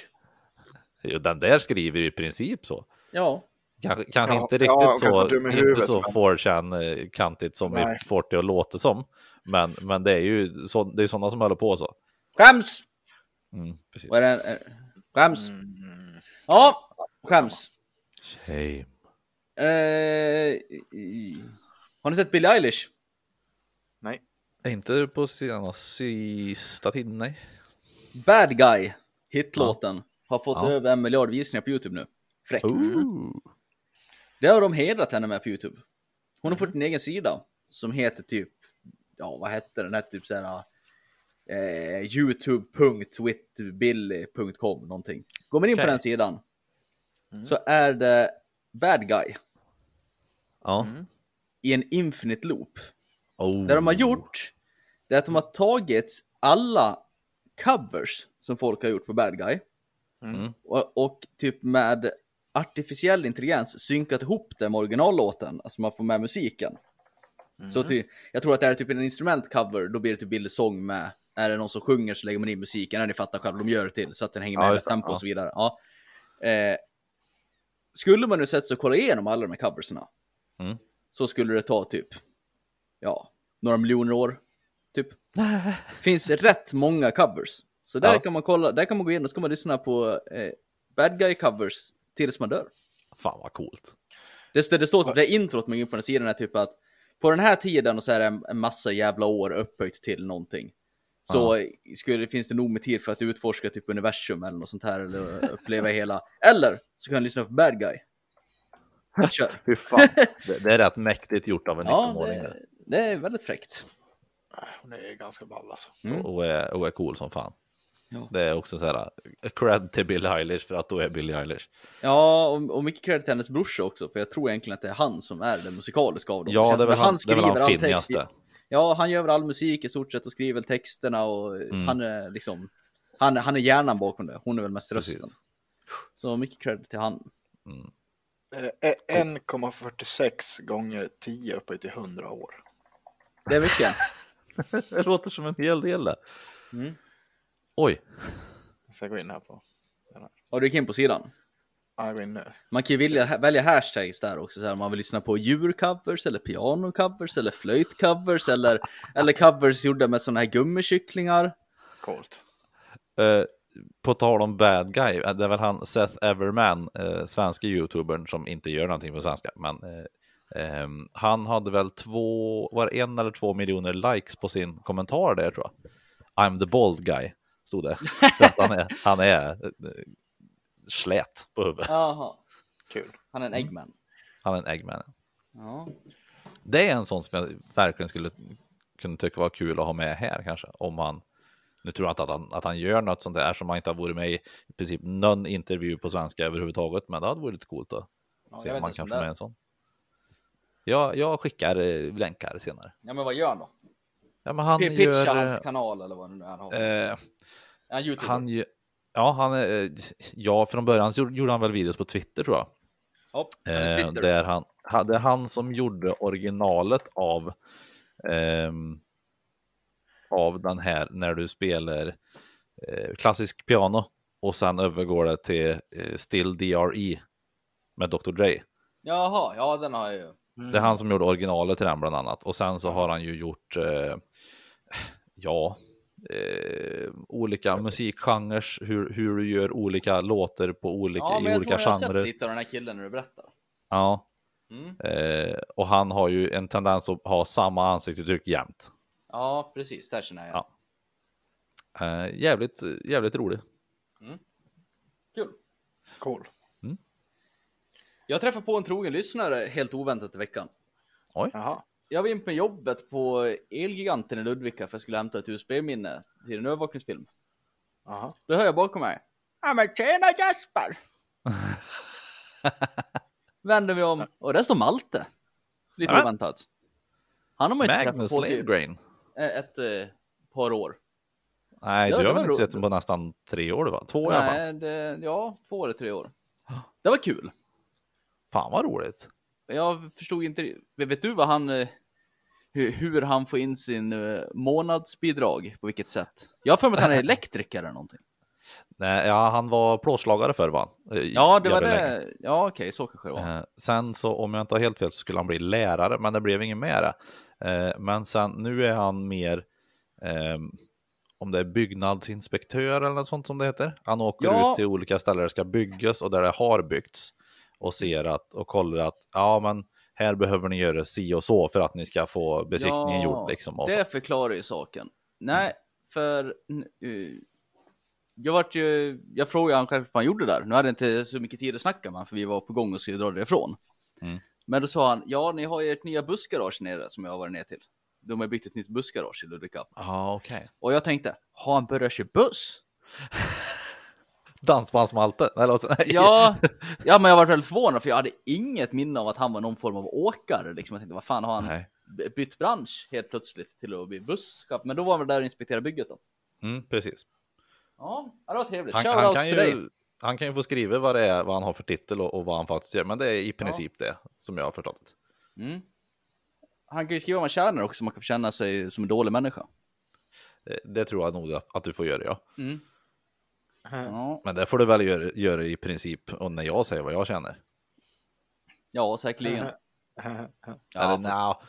S2: Jo, Den där skriver ju i princip så.
S3: Ja,
S2: Kanske, kanske
S1: Ja,
S2: inte
S1: ja,
S2: riktigt
S1: kanske
S2: så,
S1: dum i
S2: inte
S1: huvudet,
S2: så
S1: men-
S2: 4chan-kantigt som vi
S1: Nej.
S2: får det att låta som. Men, men det är ju så, det är sådana som håller på så.
S3: skäms!
S2: Mm, precis.
S3: Vad är det? Eh, Skäms! Ja, skäms.
S2: Hej.
S3: Eh, i- i- har ni sett Billie Eilish?
S1: nej.
S2: Inte på sena, sista tiden, nej.
S3: Bad Guy, hitlåten, har fått
S2: Ja. Oh.
S3: över en miljard visningar på YouTube nu. Fräckt.
S2: Ooh.
S3: Det har de hedrat henne med på YouTube. Hon har fått en egen sida som heter typ, ja vad hette den? Den hette typ såhär eh, youtube.witbilly.com någonting. Går man in
S2: Okej. Mm.
S3: på den sidan så är det bad guy
S2: Ja.
S3: i en infinite loop.
S2: Oh.
S3: Mm. Det de har gjort det är att de har tagit alla covers som folk har gjort på bad guy
S1: Mm.
S3: och, och typ med artificiell intelligens synkat ihop det med originallåten, alltså man får med musiken. Så
S2: Mm.
S3: ty, jag tror att det här är typ en instrumentcover, då blir det typ billig sång med. Är det någon som sjunger så lägger man in musiken, när ni fattar själva, de gör det till så att den hänger med
S2: Ja,
S3: i
S2: just det,
S3: tempo
S2: ja.
S3: och så vidare. Ja. Eh, skulle man nu sätta sig och kolla igenom alla de här coverserna
S2: Mm.
S3: så skulle det ta typ, ja, några miljoner år. Typ. Finns rätt många covers. Så där
S2: Ja.
S3: kan man kolla, där kan man gå in och så kan man lyssna på eh, bad guy covers tills man dör.
S2: Fan vad coolt.
S3: Det, det, det står typ det introt man går in på den sidan är typ att på den här tiden och så är det en- en massa jävla år upphöjt till någonting. Så skulle, finns det nog med tid för att utforska typ universum eller något sånt här eller uppleva hela. Eller så kan du lyssna på bad guy. Kör.
S2: Fy fan. det, det är rätt mäktigt gjort av en
S3: Ja,
S2: 19-åring.
S3: det, det är väldigt fräckt.
S1: Hon är ganska ball alltså.
S2: och, är, och är cool som fan.
S3: Ja.
S2: Det är också så här, eh, cred till Billie Eilish för att då är Billie Eilish.
S3: Ja, och, och mycket credit till hennes brorsa också, för jag tror egentligen att det är han som är den musikaliska av dem.
S2: Ja,
S3: känns
S2: det är
S3: som
S2: väl
S3: att
S2: han- det är väl
S3: skriver
S2: han
S3: all text.
S2: finnigaste.
S3: Ja, han gör väl all musik i stort sett och skriver väl texterna och
S2: Mm.
S3: han är liksom, han, han är hjärnan bakom det. Hon är väl mest rösten.
S2: Precis.
S3: Så mycket credit till han.
S1: Eh, 1,46 gånger 10 upphöjt till 100 år.
S3: Det är mycket.
S2: Det låter som en hel del det. Oj,
S1: Ska jag gå in här på?
S3: Och du gick in på sidan.
S1: Ja, jag går in nu.
S3: Man kan ju vilja, välja hashtags där också, så här, om man vill lyssna på djurcovers eller pianocovers eller flöjtcovers eller, eller covers gjorda med sådana här gummikycklingar.
S1: Coolt.
S2: eh, på tal om bad guy, eh, det är väl han Seth Everman, eh, svenska youtubern som inte gör någonting på svenska, men eh, ehm, han hade väl två, var det en eller två miljoner likes på sin kommentar där tror jag. I'm the bald guy, stod det. För att han är, han är eh, slät på huvudet.
S3: Jaha.
S1: Kul.
S3: Han är en
S2: Mm.
S3: Eggman.
S2: Han är en eggman.
S3: Ja.
S2: Det är en sån som jag verkligen skulle kunna tycka var kul att ha med här kanske. Om han, nu tror jag inte att han, att han gör något sånt där som han inte har varit med i, i princip någon intervju på svenska överhuvudtaget. Men det hade varit lite coolt att
S3: Ja,
S2: se
S3: jag
S2: om
S3: vet
S2: man
S3: inte
S2: kan
S3: som
S2: få
S3: det är.
S2: med en sån. Jag, jag skickar eh, länkar senare.
S3: Ja men vad gör han då?
S2: Ja, men han
S3: Pitcha
S2: gör...
S3: hans kanal eller vad det nu är han har.
S2: eh, eh,
S3: han YouTuber.
S2: han gör ja, han, är- eh, ja, från början så gjorde han väl videos på Twitter tror jag.
S3: ja, han är
S2: Eh,
S3: Twitter.
S2: där han, ha- det är han som gjorde originalet av, ehm, av den här när du spelar eh, klassisk piano och sen övergår det till eh, Still DRE med Dr. Dre.
S3: Jaha, ja den har jag ju.
S2: Det är han som gjorde originalet till den bland annat. Och sen så har han ju gjort, eh, ja, eh, olika musikgenres, hur, hur du gör olika låtar på olika,
S3: Ja, men
S2: i
S3: jag
S2: olika
S3: tror jag har sett
S2: genrer.
S3: lite av den här killen när du berättar.
S2: Ja.
S3: Mm.
S2: Eh, och han har ju en tendens att ha samma ansiktsuttryck jämt.
S3: Ja, precis, där känner jag igen.
S2: Ja. Eh, jävligt, jävligt rolig.
S3: Kul.
S1: Cool.
S3: Jag träffade på en trogen lyssnare helt oväntat i veckan.
S1: Jaha.
S3: Jag var in på jobbet på Elgiganten i Ludvika för jag skulle hämta ett USB-minne till en övervakningsfilm.
S1: Jaha.
S3: Då hör jag bakom mig. Ja men tjena Jesper! Vänder vi om och där står Malte. Lite
S2: Ja.
S3: oväntat. Han har man ju inte
S2: Magnus
S3: träffat på typ
S2: Lavegrain.
S3: ett eh, par år.
S2: Nej,
S3: Ja,
S2: du
S3: det var
S2: har väl inte
S3: roligt.
S2: sett den på nästan tre år, va? Två i alla fall.
S3: Nej, det, ja, två eller tre år. Det var kul.
S2: Fan vad roligt.
S3: Jag förstod inte. Vet du vad han... eh, Hur, hur han får in sin eh, månadsbidrag? På vilket sätt? Jag har för mig att han är elektriker eller någonting.
S2: Nej, ja, han var plåtslagare förr, va? Eh,
S3: Ja, det var
S2: jävligt länge.
S3: det. Ja, okej, så kanske det var.
S2: Eh, sen så, om jag inte har helt fel, så skulle han bli lärare, men det blev ingen med det. Eh, men sen, nu är han mer, ehm, om det är byggnadsinspektör eller något sånt som det heter. Han åker
S3: Ja.
S2: ut till olika ställen där det ska byggas och där det har byggts och ser att, och kollar att, ja men här behöver ni göra si och så för att ni ska få besiktningen gjord liksom. Och så.
S3: det förklarar ju saken. Nej, för n- eh, jag vart ju, jag frågade han själv vad han gjorde där. Nu hade jag inte så mycket tid att snacka med honom, för vi var på gång och skulle dra därifrån.
S2: Mm.
S3: Men då sa han, ja ni har ju ert nya bussgarage nere som jag har varit ner till. De har byggt ett nytt bussgarage i Ludvika.
S2: Ja, okej.
S3: Och jag tänkte, har han börjat köra buss?
S2: Dansbandsmalte, eller vad säger-
S3: Ja, ja, men jag var väldigt förvånad för jag hade inget minne av att han var någon form av åkare. Liksom. Jag tänkte, vad fan har han
S2: Nej.
S3: b- bytt bransch helt plötsligt till att bli busschaufför? Men då var han väl där och inspekterade bygget då.
S2: Mm, precis.
S3: Ja, det var trevligt.
S2: Han,
S3: Shoutout
S2: han, kan
S3: till dig.
S2: ju, han kan ju få skriva vad, det är, vad han har för titel och, och vad han faktiskt gör, men det är i princip det som jag har förstått det.
S3: Mm. Han kan ju skriva vad man tjänar också, man kan känna sig som en dålig människa.
S1: Mm.
S2: Eh, Det tror jag nog att- att du får göra, ja.
S3: Mm. Ja,
S2: Men det får du väl göra, göra i princip och när jag säger vad jag känner.
S3: ja säkerligen.
S1: Mm.
S2: Eller nja,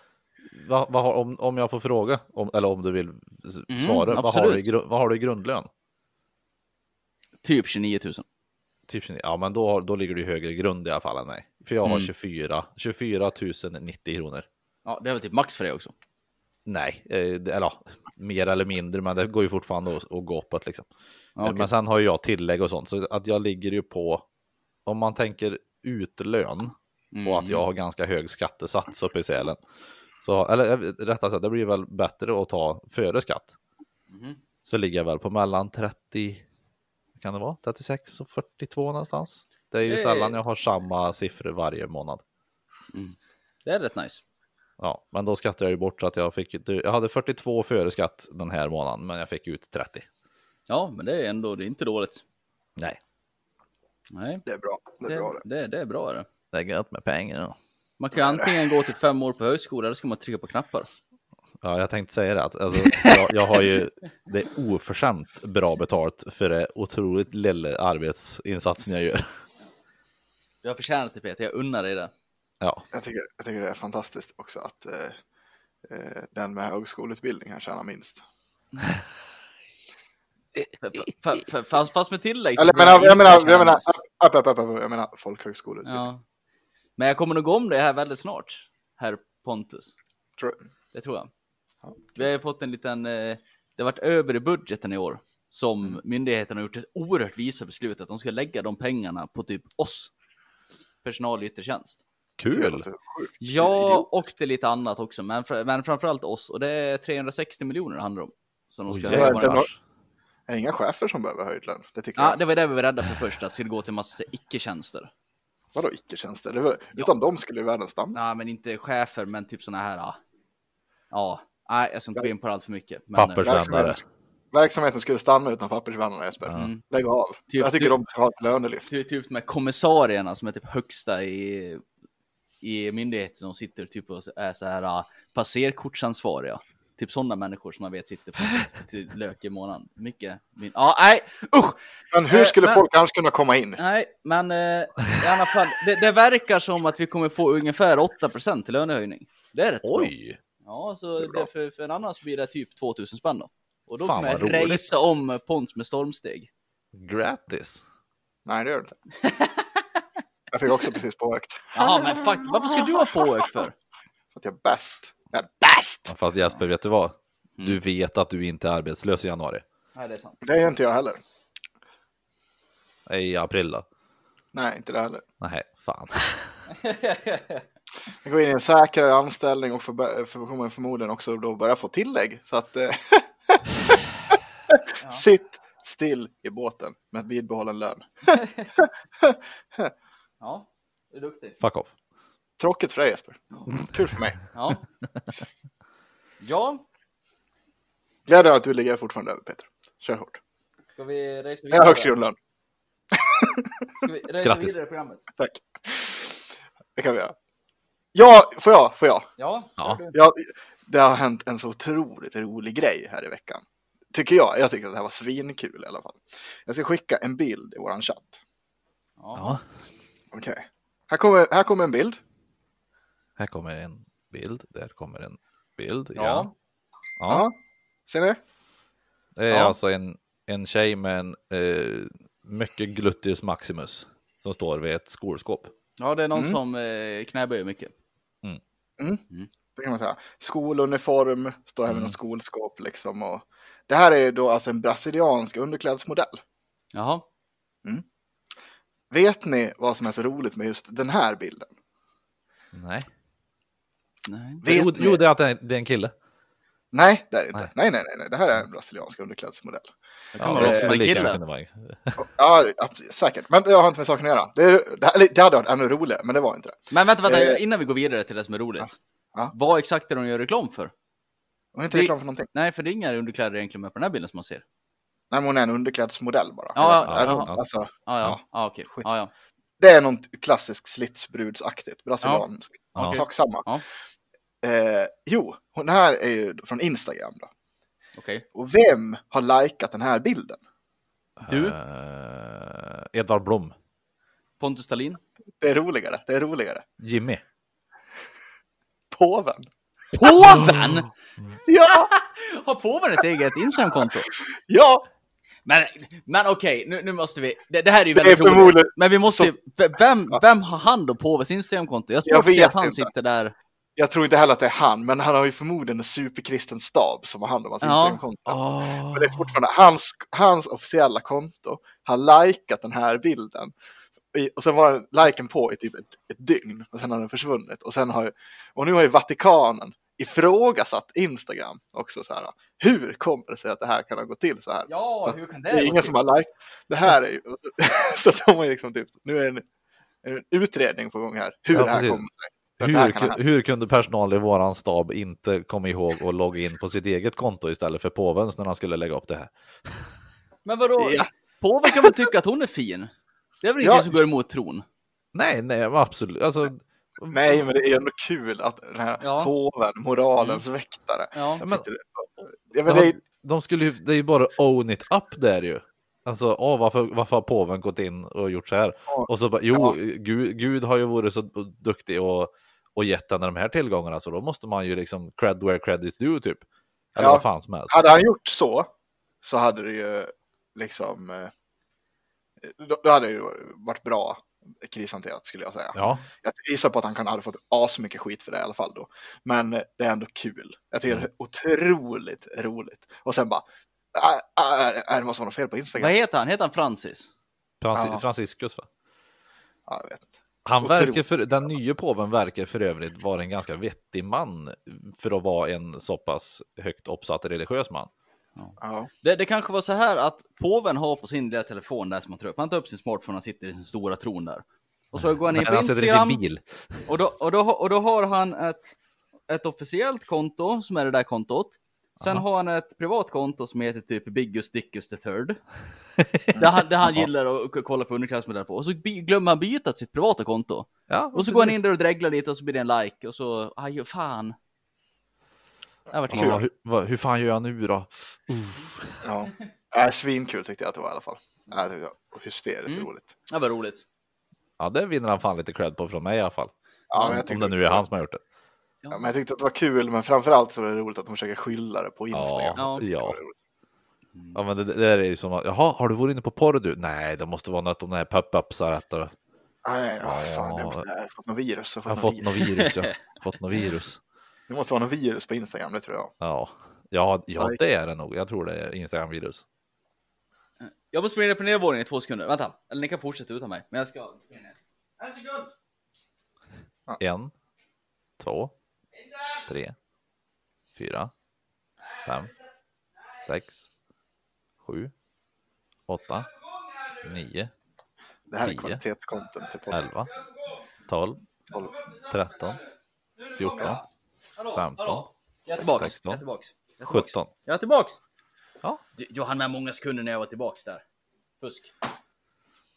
S2: vad, vad har, om, om jag får fråga, om, eller om du vill s-
S3: Mm,
S2: svara, vad, har du, i
S3: absolut.
S2: gru- vad har du i grundlön?
S3: Typ 29 000.
S2: Typ, ja, men då, har- då ligger du i högre grund i alla fall än mig. För jag har
S3: Mm.
S2: 24, 24 090 kronor.
S3: Ja, det är väl typ max för dig också.
S2: Nej, eh, det- eller ja, mer eller mindre, men det går ju fortfarande att, att gå uppåt liksom.
S3: Ja,
S2: Eh,
S3: okej.
S2: Men sen har ju jag tillägg och sånt, så att jag ligger ju på, om man tänker utlön och
S3: Mm.
S2: att jag har ganska hög skattesats uppe i Sälen, så, eller eh, rättare sagt, det blir väl bättre att ta före skatt.
S3: Mm-hmm.
S2: Så ligger jag väl på mellan 30, vad kan det vara, 36 och 42 någonstans. Det är ju
S3: Det är-
S2: sällan jag har samma siffror varje månad.
S3: Det är rätt nice.
S2: Ja, men då skattade jag ju bort så att jag fick, jag hade 42 före skatt den här månaden, men jag fick ut 30.
S3: Ja, men det är ändå, det är inte dåligt.
S2: Nej.
S3: Nej,
S1: Det är bra. Det är bra det.
S3: det, det är bra det.
S2: Det är gött med pengar då.
S3: Man kan ju antingen gå till fem år på högskola eller så ska man trycka på knappar.
S2: Ja, jag tänkte säga det. Att, alltså, jag, jag har ju det är oförskämt bra betalt för det otroligt lilla arbetsinsatsen jag gör.
S3: Du har förtjänat det Peter, jag unnar dig det.
S2: Ja,
S1: Jag tycker, jag tycker det är fantastiskt också att eh, eh, den med högskoleutbildning här tjänar minst.
S3: F- f- f- Fast, fast med tillägg. så
S1: Eller jag menar,
S3: blir
S1: jag
S3: inte
S1: menar, jag
S3: förtjänat.
S1: menar, upp, upp, upp, upp, jag menar folkhögskoleutbildning.
S3: Ja. Men jag kommer nog om det här väldigt snart, herr Pontus.
S1: Tror,
S3: Det tror jag.
S1: Ja.
S3: Vi har ju fått en liten, eh, det har varit över i budgeten i år som
S1: Mm.
S3: myndigheten har gjort ett oerhört visa beslut att de ska lägga de pengarna på typ oss. Personal i yttre tjänst.
S1: det
S2: kul!
S1: låter sjukt.
S3: Ja,
S1: Idiot.
S3: och till lite annat också, men, fra- men framförallt oss. Och det är 360 miljoner det handlar om. Som de
S2: Oj,
S3: ska
S1: det var
S3: lägga på
S1: inte
S3: den här.
S1: något. Är det inga chefer som behöver höjd lön? Det tycker
S3: Ja,
S1: jag.
S3: det var det vi var rädda för först, att det skulle gå till massa icke-tjänster.
S1: Vadå icke-tjänster? Det var, Utan dem skulle ju världen stanna.
S3: Nej, men inte chefer, men typ sådana här. ja. Ja, nej, jag ska inte gå in på det allt för mycket. Men,
S2: Pappers-
S3: eh,
S2: Värmare.
S1: Verksamheten, verksamheten skulle stanna utan pappersvärmarna Jesper.
S3: Mm.
S1: Lägg av. jag tycker
S3: du-
S1: de ska ha ett lönelyft.
S3: ty- Typ med kommissarierna som är typ högsta i, i i myndigheter som sitter typ och är så här ah, passerkortsansvariga. Typ sådana människor som man vet sitter på till lök i månaden. Mycket. Min... Ja, nej, usch!
S1: Men hur
S3: Eh,
S1: skulle
S3: men-
S1: folk annars kunna komma in?
S3: Nej, men eh, i alla fall, det, det verkar som att vi kommer få ungefär 8% till lönehöjning. Det är rätt bra.
S2: Oj!
S3: Ja,
S1: Det
S3: så
S1: är bra.
S3: det för, för en annan så blir det typ 2000 spänn då. Och då
S2: Fan,
S3: kommer
S2: vad
S3: jag
S2: roligt.
S3: rejsa om Pons med stormsteg.
S2: Grattis!
S1: Nej, det gör det inte. Jag fick också precis påökt.
S3: Jaha, men fuck, varför ska du ha påök för?
S1: För att jag är bäst. Jag är bäst!
S2: Ja, Fast Jesper, vet du vad?
S3: Mm.
S2: Du vet att du inte är arbetslös i januari.
S3: Nej, det är sant.
S1: Det är inte jag heller.
S2: I april då?
S1: Nej, inte det heller.
S2: Nej, fan.
S1: Jag går in i en säkrare anställning och förbe- för, kommer förmodligen också då börja få tillägg. Så att... Eh, Sitt still i båten med bibehållen lön.
S3: Ja, du är duktig.
S2: Fuck off.
S1: Tråkigt för dig Jesper. Kul för mig.
S3: Ja. Ja,
S1: Glädjande att du ligger fortfarande över Peter. Kör hårt.
S3: ska vi rejsa
S1: Jag har högst grundlön.
S3: Ska vi rejsa
S2: Grattis.
S3: vidare i programmet?
S1: Tack. Det kan vi göra. Ja, får jag? Får jag?
S3: Ja,
S2: Ja.
S3: kör du.
S1: Ja, det har hänt en så otroligt rolig grej här i veckan. Tycker jag. Jag tycker att det här var svinkul i alla fall. Jag ska skicka en bild i våran chatt.
S3: Ja.
S2: Ja,
S1: Okej. Här, kommer, här kommer en bild.
S2: här kommer en bild. Där kommer en bild. Ja.
S3: Ja.
S2: Ja.
S1: Ser ni?
S2: Det är
S3: Ja.
S2: alltså en, en tjej med en eh, mycket glutters maximus som står vid ett skolskåp.
S3: ja, det är någon
S1: Mm.
S3: som eh, knäböjer mycket.
S1: Det kan man säga. Skoluniform, står även
S2: Mm.
S1: en skolskåp liksom. Och... Det här är ju då alltså en brasiliansk underklädsmodell.
S3: Jaha.
S1: Vet ni vad som är så roligt med just den här bilden?
S2: Nej.
S3: Nej.
S1: Vet
S2: Jo,
S1: ni?
S2: jo, det är att det är- det är en kille.
S1: Nej, det är det inte.
S2: Nej.
S1: Nej. nej, nej, nej. Det här är en brasiliansk underklädsmodell.
S3: Det kan
S2: Ja,
S3: vara
S2: det
S3: någon som är
S2: skulle lika gärna
S3: kille.
S2: kunna vara en
S1: Ja, absolut, säkert. Men det har inte med saken att göra. Det, är, det, här- eller, det hade varit ännu roligare, men det var inte det.
S3: Men vänta, vänta,
S1: Eh.
S3: innan vi går vidare till det som är roligt.
S1: Ja.
S3: Vad exakt är det de gör reklam för?
S1: Hon är inte
S3: Vi-
S1: reklam för någonting.
S3: Nej, för det är inga underkläder egentligen med på den här bilden som man ser.
S1: Nej, men hon är en underklädsmodell bara.
S3: Ja,
S1: Jag vet inte.
S2: ja,
S1: Är hon-
S2: ja.
S1: Alltså,
S3: Ah, ja,
S1: Ja.
S3: ah, okej.
S1: Skit.
S3: Ah, ja.
S1: det är något klassiskt slitsbrudsaktigt, brasilianskt.
S2: Ja.
S1: Sak samma.
S3: Ja.
S1: Eh, jo, hon här är ju från Instagram då.
S3: Okej.
S1: Och vem har likat den här bilden?
S3: Du?
S2: Eh, Edvard Blom.
S3: Pontus Dahlin?
S1: Det är roligare, det är roligare.
S2: Jimmy.
S1: Påven.
S3: Påven!
S1: Ja,
S3: Mm. Har påven ett eget Instagramkonto?
S1: ja,
S3: Men, men okej, nu, nu måste vi... Det, det här är ju
S1: Det är
S3: väldigt roligt.
S1: förmodligen-
S3: Men vi måste ju... v- Vem,
S1: Ja.
S3: vem har hand om påvens Instagramkonto? Jag tror
S1: Jag
S3: inte
S1: vet
S3: att han
S1: inte.
S3: sitter där...
S1: jag tror inte heller att det är han, men han har ju förmodligen en superkristen stab som har hand om hans
S3: Ja.
S1: Instagramkonto.
S2: Oh.
S1: Men det är fortfarande hans, hans officiella konto har likat den här bilden. I- Och sen var den liken på i typ ett, ett dygn och sen har den försvunnit. Och, sen har, ju- och nu har ju Vatikanen ifrågasatt Instagram också så här. Hur kommer det sig att det här kan ha gått till så här?
S3: Ja,
S1: För att
S3: hur kan typ-
S1: Det är ingen som har likat. Det här är ju, så att de har ju liksom typ, nu är en, en utredning på gång här. Hur
S2: Ja,
S1: det här
S2: precis.
S1: kommer sig. För att det här
S2: Hur,
S1: kan ha hänt.
S2: ku- hur kunde personalen i våran stab inte komma ihåg att logga in på sitt eget konto istället för påvens när han skulle lägga upp det här?
S3: Men vadå?
S1: Ja.
S3: Påven kan väl tycka att hon är fin? Det är väl
S1: Ja.
S3: ingenting som går emot tron?
S2: Nej, nej, absolut. Alltså,
S1: Nej, men det är ändå kul att den här
S3: Ja.
S1: påven, moralens väktare,
S3: Ja.
S2: Men-
S1: sitter ja, men
S2: men
S1: det är,
S2: han- de skulle ju, det är ju bara own it up där ju. Alltså, åh, varför, varför har påven gått in och gjort så här?
S1: Ja.
S2: Och så bara, jo,
S1: Ja.
S2: Gud, Gud har ju varit så duktig och, och gett henne de här tillgångarna, så då måste man ju liksom cred where credit's due, typ. Eller
S1: Ja.
S2: vad fan som helst.
S1: Hade han gjort så, så hade det ju liksom... eh, Då, då hade det ju varit bra krishanterat skulle jag säga.
S2: Ja,
S1: Jag gissar på att han kan hade fått asmycket skit för det i alla fall då. Men eh, det är ändå kul. Jag tycker
S2: Mm.
S1: det är otroligt roligt. Och sen bara, "Ah, ah, är- är det måste vara något fel på
S3: Vad
S1: Instagram.
S3: heter han? Heter han Francis?
S2: Francis,
S1: Ja.
S2: Franciscus va?
S1: Ja, jag vet inte.
S2: Han
S1: Otroligt.
S2: verkar för, den nya påven verkar för övrigt vara en ganska vettig man för att vara en så pass högt uppsatt religiös man.
S1: Ja.
S3: Det, det kanske var så här att påven har på sin lilla telefon där som han tar upp. Han tar upp sin smartphone och han sitter i sin stora tron där. Och så går han in
S2: Men
S3: på
S2: han sitter i sin
S3: Instagram
S2: bil.
S3: och då, och, då, och då har han ett, ett officiellt konto som är det där kontot. Sen har han ett privat konto som heter typ Biggus Dickus the third. Där han, där han gillar att k- kolla på underklassmodeller på. Och så bi- glömmer han byta till sitt privata konto.
S2: Ja,
S3: Och så går han in där och dreglar lite och så blir det en like och så, aj fan. Det här vart
S2: Ja,
S3: kul.
S2: hur, vad, hur fan gör jag nu då?
S1: Ja. Äh, svinkul tyckte jag att det var i alla fall. Äh, det var hysteriskt
S3: Mm.
S1: roligt.
S3: Det var roligt.
S2: Ja, det vinner han fan lite cred på från mig i alla fall.
S1: Ja, men jag
S2: Om
S1: tyckte
S2: det nu är han som har gjort det.
S1: Ja, men jag tyckte att det var kul, men framförallt så var det roligt att de försöker skylla det på Instagram.
S2: Ja,
S1: Det var
S2: ja.
S1: roligt.
S2: ja men det, det där är ju som att, jaha, har du varit inne på porr du? Nej, det måste vara något om den här pop-ups har rätt. och-
S1: Ah, Nej, ja,
S2: Ja.
S1: fan, jag, måste, jag har fått något virus. Jag
S2: Jag
S1: har
S2: har
S1: fått något
S2: fått något
S1: virus.
S2: virus, ja. Fått något virus.
S1: Det måste vara något virus på Instagram, det tror jag.
S2: Ja, ja, ja
S1: Nej.
S2: det är det nog. Jag tror det är Instagram-virus.
S3: Jag måste springa ner på nedervåningen i två sekunder. Vänta, eller ni kan fortsätta utan mig. Men jag ska... En sekund!
S2: En, två, tre, fyra, fem, sex, sju, åtta, nio,
S1: Det här är
S2: Tio.
S1: kvalitetscontent till podden.
S2: elva, tolv,
S1: Tolv.
S2: tretton, fjorton, femton,
S3: Jag är tillbaks.
S2: sexton,
S3: Jag är tillbaks. Jag är tillbaks.
S2: sjutton.
S3: Jag är tillbaks.
S2: Ja.
S3: Du, du hann med många sekunder när jag var tillbaks där. Fusk.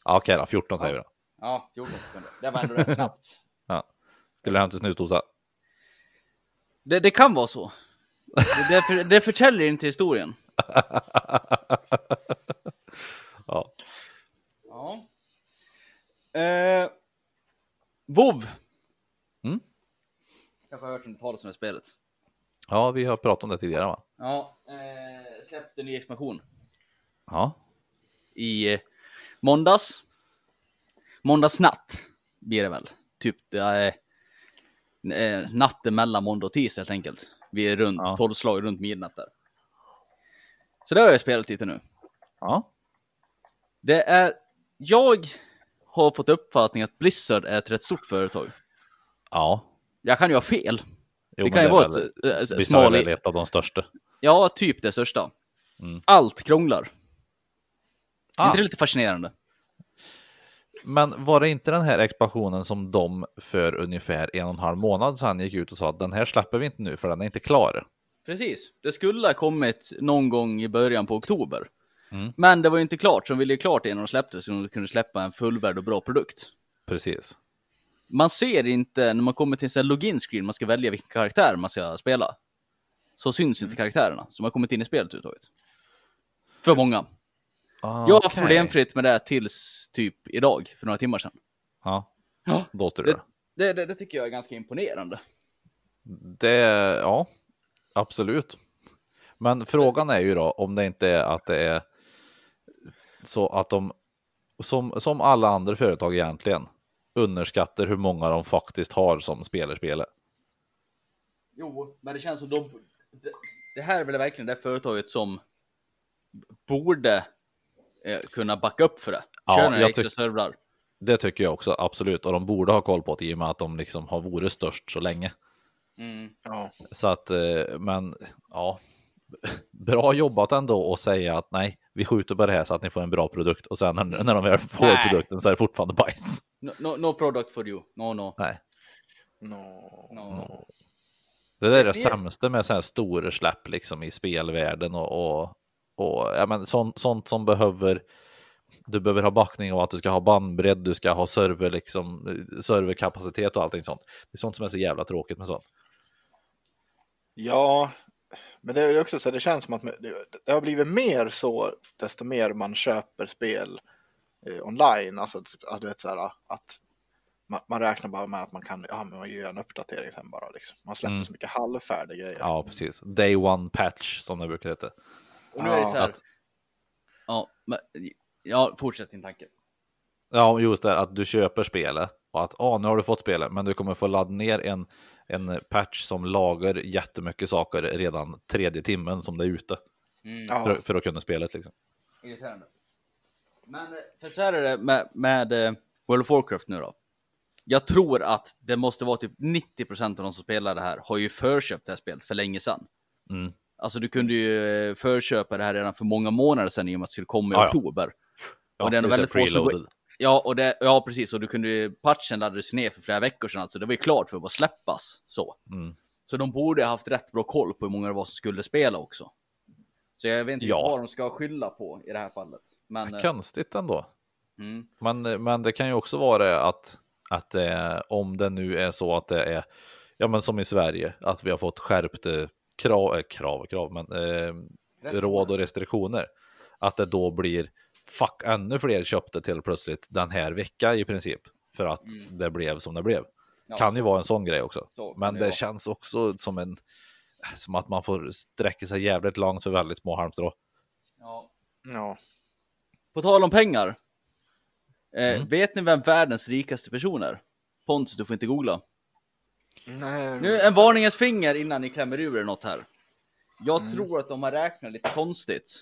S2: Ja, okej då, 14 säger vi då.
S3: Ja, 14 sekunder. Det var ändå rätt snabbt.
S2: Ja. Skulle jag hämta snusdosa?
S3: Det, det kan vara så. Det, det, för, det förtäljer inte historien.
S2: Ja.
S3: Ja. Eh, WoW.
S2: Mm.
S3: Kanske har hört om det talas om det spelet.
S2: ja, vi har pratat om det tidigare va?
S3: Ja, eh, släppte en ny expansion
S2: Ja,
S3: i eh, måndags. Måndagsnatt blir det väl. Typ det är eh, natten mellan måndag och tisdag helt enkelt. Vi är runt
S2: Ja.
S3: 12 slag runt midnatt där. Så det har jag spelat lite nu.
S2: ja,
S3: Det är, jag har fått uppfattning att Blizzard är ett rätt stort företag.
S2: ja.
S3: Jag kan ju ha fel.
S2: Jo,
S3: det
S2: men
S3: kan ju
S2: är
S3: vara
S2: väl-
S3: ett eh, s-
S2: Vissa är
S3: smal...
S2: väl ett av de största.
S3: Ja, typ det största.
S2: Mm.
S3: Allt krånglar. Är
S2: Ah.
S3: inte det lite fascinerande?
S2: Men var det inte den här expansionen som de för ungefär en och en halv månad sedan gick ut och sa att den här släpper vi inte nu för den är inte klar?
S3: Precis. Det skulle ha kommit någon gång i början på oktober.
S2: Mm.
S3: Men det var ju inte klart, så de ville ju klart innan de släppte så de kunde släppa en fullvärd och bra produkt.
S2: Precis.
S3: Man ser inte, när man kommer till en sån här login-screen, man ska välja vilken karaktär man ska spela. Så syns inte karaktärerna som har kommit in i spelet överhuvudtaget. För många.
S2: Ah,
S3: Jag har haft
S2: okej.
S3: problemfritt med det här tills typ idag, för några timmar sedan.
S2: Ja,
S3: Ja,
S2: då styr
S3: det,
S2: det.
S3: det, det, det tycker jag är ganska imponerande.
S2: det. Ja, absolut. Men frågan är ju då om det inte är att det är så att de, som, som alla andra företag egentligen, underskattar hur många de faktiskt har som spelar spelet.
S3: Jo, men det känns som de... Det, det här är väl verkligen det företaget som borde eh, kunna backa upp för det.
S2: Ja,
S3: Köra några
S2: jag
S3: extra
S2: tyck-
S3: servrar.
S2: Det tycker jag också, absolut. Och de borde ha koll på det i och med att de liksom har varit störst så länge.
S3: Mm.
S1: Ja.
S2: Så att, eh, men ja, bra jobbat ändå att säga att nej, vi skjuter på det här så att ni får en bra produkt och sen när när de väl får
S3: Nej.
S2: produkten så är det fortfarande bajs.
S3: No, no, no product for you. No, no.
S2: Nej,
S1: No.
S2: Mm.
S3: no, no.
S2: det där är
S3: Det-
S2: det sämsta med sådana här stora släpp liksom i spelvärlden och, och, och ja, men sånt, sånt som behöver du behöver ha backning och att du ska ha bandbredd, du ska ha server, liksom, eh, serverkapacitet och allting sånt. Det är sånt som är så jävla tråkigt med sånt.
S1: Ja, men det är också så det känns som att det det har blivit mer så desto mer man köper spel eh, online. Alltså typ, ja, du vet så här att man, man räknar bara med att man kan, ja men man gör en uppdatering sen bara liksom. Man släpper
S2: Mm.
S1: så mycket halvfärdiga grejer.
S2: Ja, precis. Day one patch som det brukar heta.
S3: Och nu är det så här...
S2: Att-
S3: Ja, men, ja fortsätt din tanke.
S2: Ja, just det, att du köper spelet och att ah, nu har du fått spelet, men du kommer få ladda ner en, en patch som lagar jättemycket saker redan tredje timmen som det är ute
S1: Ja.
S2: för, för att kunna spelet. Liksom.
S3: Irriterande. Men eh, för så här är det med, med eh, World of Warcraft nu då. Jag tror att det måste vara typ 90% av de som spelar det här har ju förköpt det här spelet för länge sedan.
S2: Mm.
S3: Alltså du kunde ju eh, förköpa det här redan för många månader sedan i och med att det skulle komma i
S2: Ja, ja.
S3: oktober.
S2: Ja,
S3: och det är nog
S2: så här
S3: väldigt få som går-
S2: freeloaded.
S3: Ja, och det, ja, precis. Och du kunde ju, patchen laddades ner för flera veckor sedan, alltså det var ju klart för att bara släppas så.
S2: Mm.
S3: Så de borde ha haft rätt bra koll på hur många det var som skulle spela också. Så jag vet inte
S2: Ja.
S3: vad de ska skylla på i det här fallet. Men, eh,
S2: Konstigt ändå.
S3: mm,
S2: Men, eh, men det kan ju också vara det att, att eh, om det nu är så att det är, ja men som i Sverige, att vi har fått skärpt eh, krav, eh, krav, och krav, men eh, råd och restriktioner. Att det då blir, fuck, ännu fler köpte till plötsligt den här veckan i princip. För att det blev som det blev.
S3: Mm. Ja,
S2: kan
S3: så-
S2: ju vara en sån grej också.
S3: så kan
S2: men
S3: det
S2: det
S3: vara.
S2: känns också som en, som att man får sträcka sig jävligt långt för väldigt små halmstrå.
S3: ja.
S1: Ja.
S3: På tal om pengar. Eh,
S2: Mm.
S3: Vet ni vem världens rikaste person är? Pontus, du får inte googla.
S1: Nej.
S3: Nu en varningens finger innan ni klämmer ur er något här. Jag tror att de har räknat lite konstigt.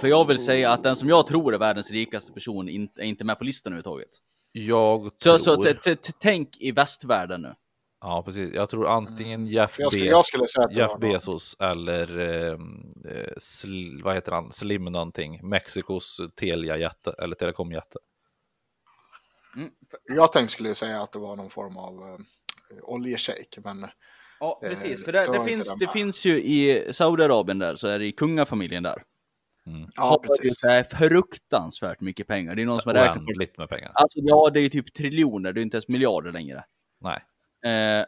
S3: För jag vill säga att den som jag tror är världens rikaste person in- är inte med på listan överhuvudtaget.
S2: Jag
S3: Så,
S2: tror...
S3: så t- t- t- tänk i västvärlden nu.
S2: Ja, precis. Jag tror antingen Jeff,
S1: Mm. Jag skulle-
S2: Bezos,
S1: jag skulle säga att det
S2: Jeff
S1: var någon.
S2: Bezos eller eh, eh, sl, vad heter han? Slim någonting. Mexikos Telia-jätte eller telekomjätte.
S1: Jag tänkte skulle säga att det var någon form av eh, oljeshejk, men
S3: Ja,
S1: Eh,
S3: precis. För det,
S1: då
S3: det,
S1: var inte
S3: finns,
S1: de
S3: det
S1: här.
S3: finns ju i Saudiarabien där, så är det i kungafamiljen där.
S1: ja,
S3: har ju
S1: precis.
S3: så här fruktansvärt mycket pengar. Det är någon som har räknat på det.
S2: Oändligt med pengar.
S3: Alltså ja, det är ju typ triljoner, det är inte ens miljarder längre.
S2: Nej.
S3: Eh,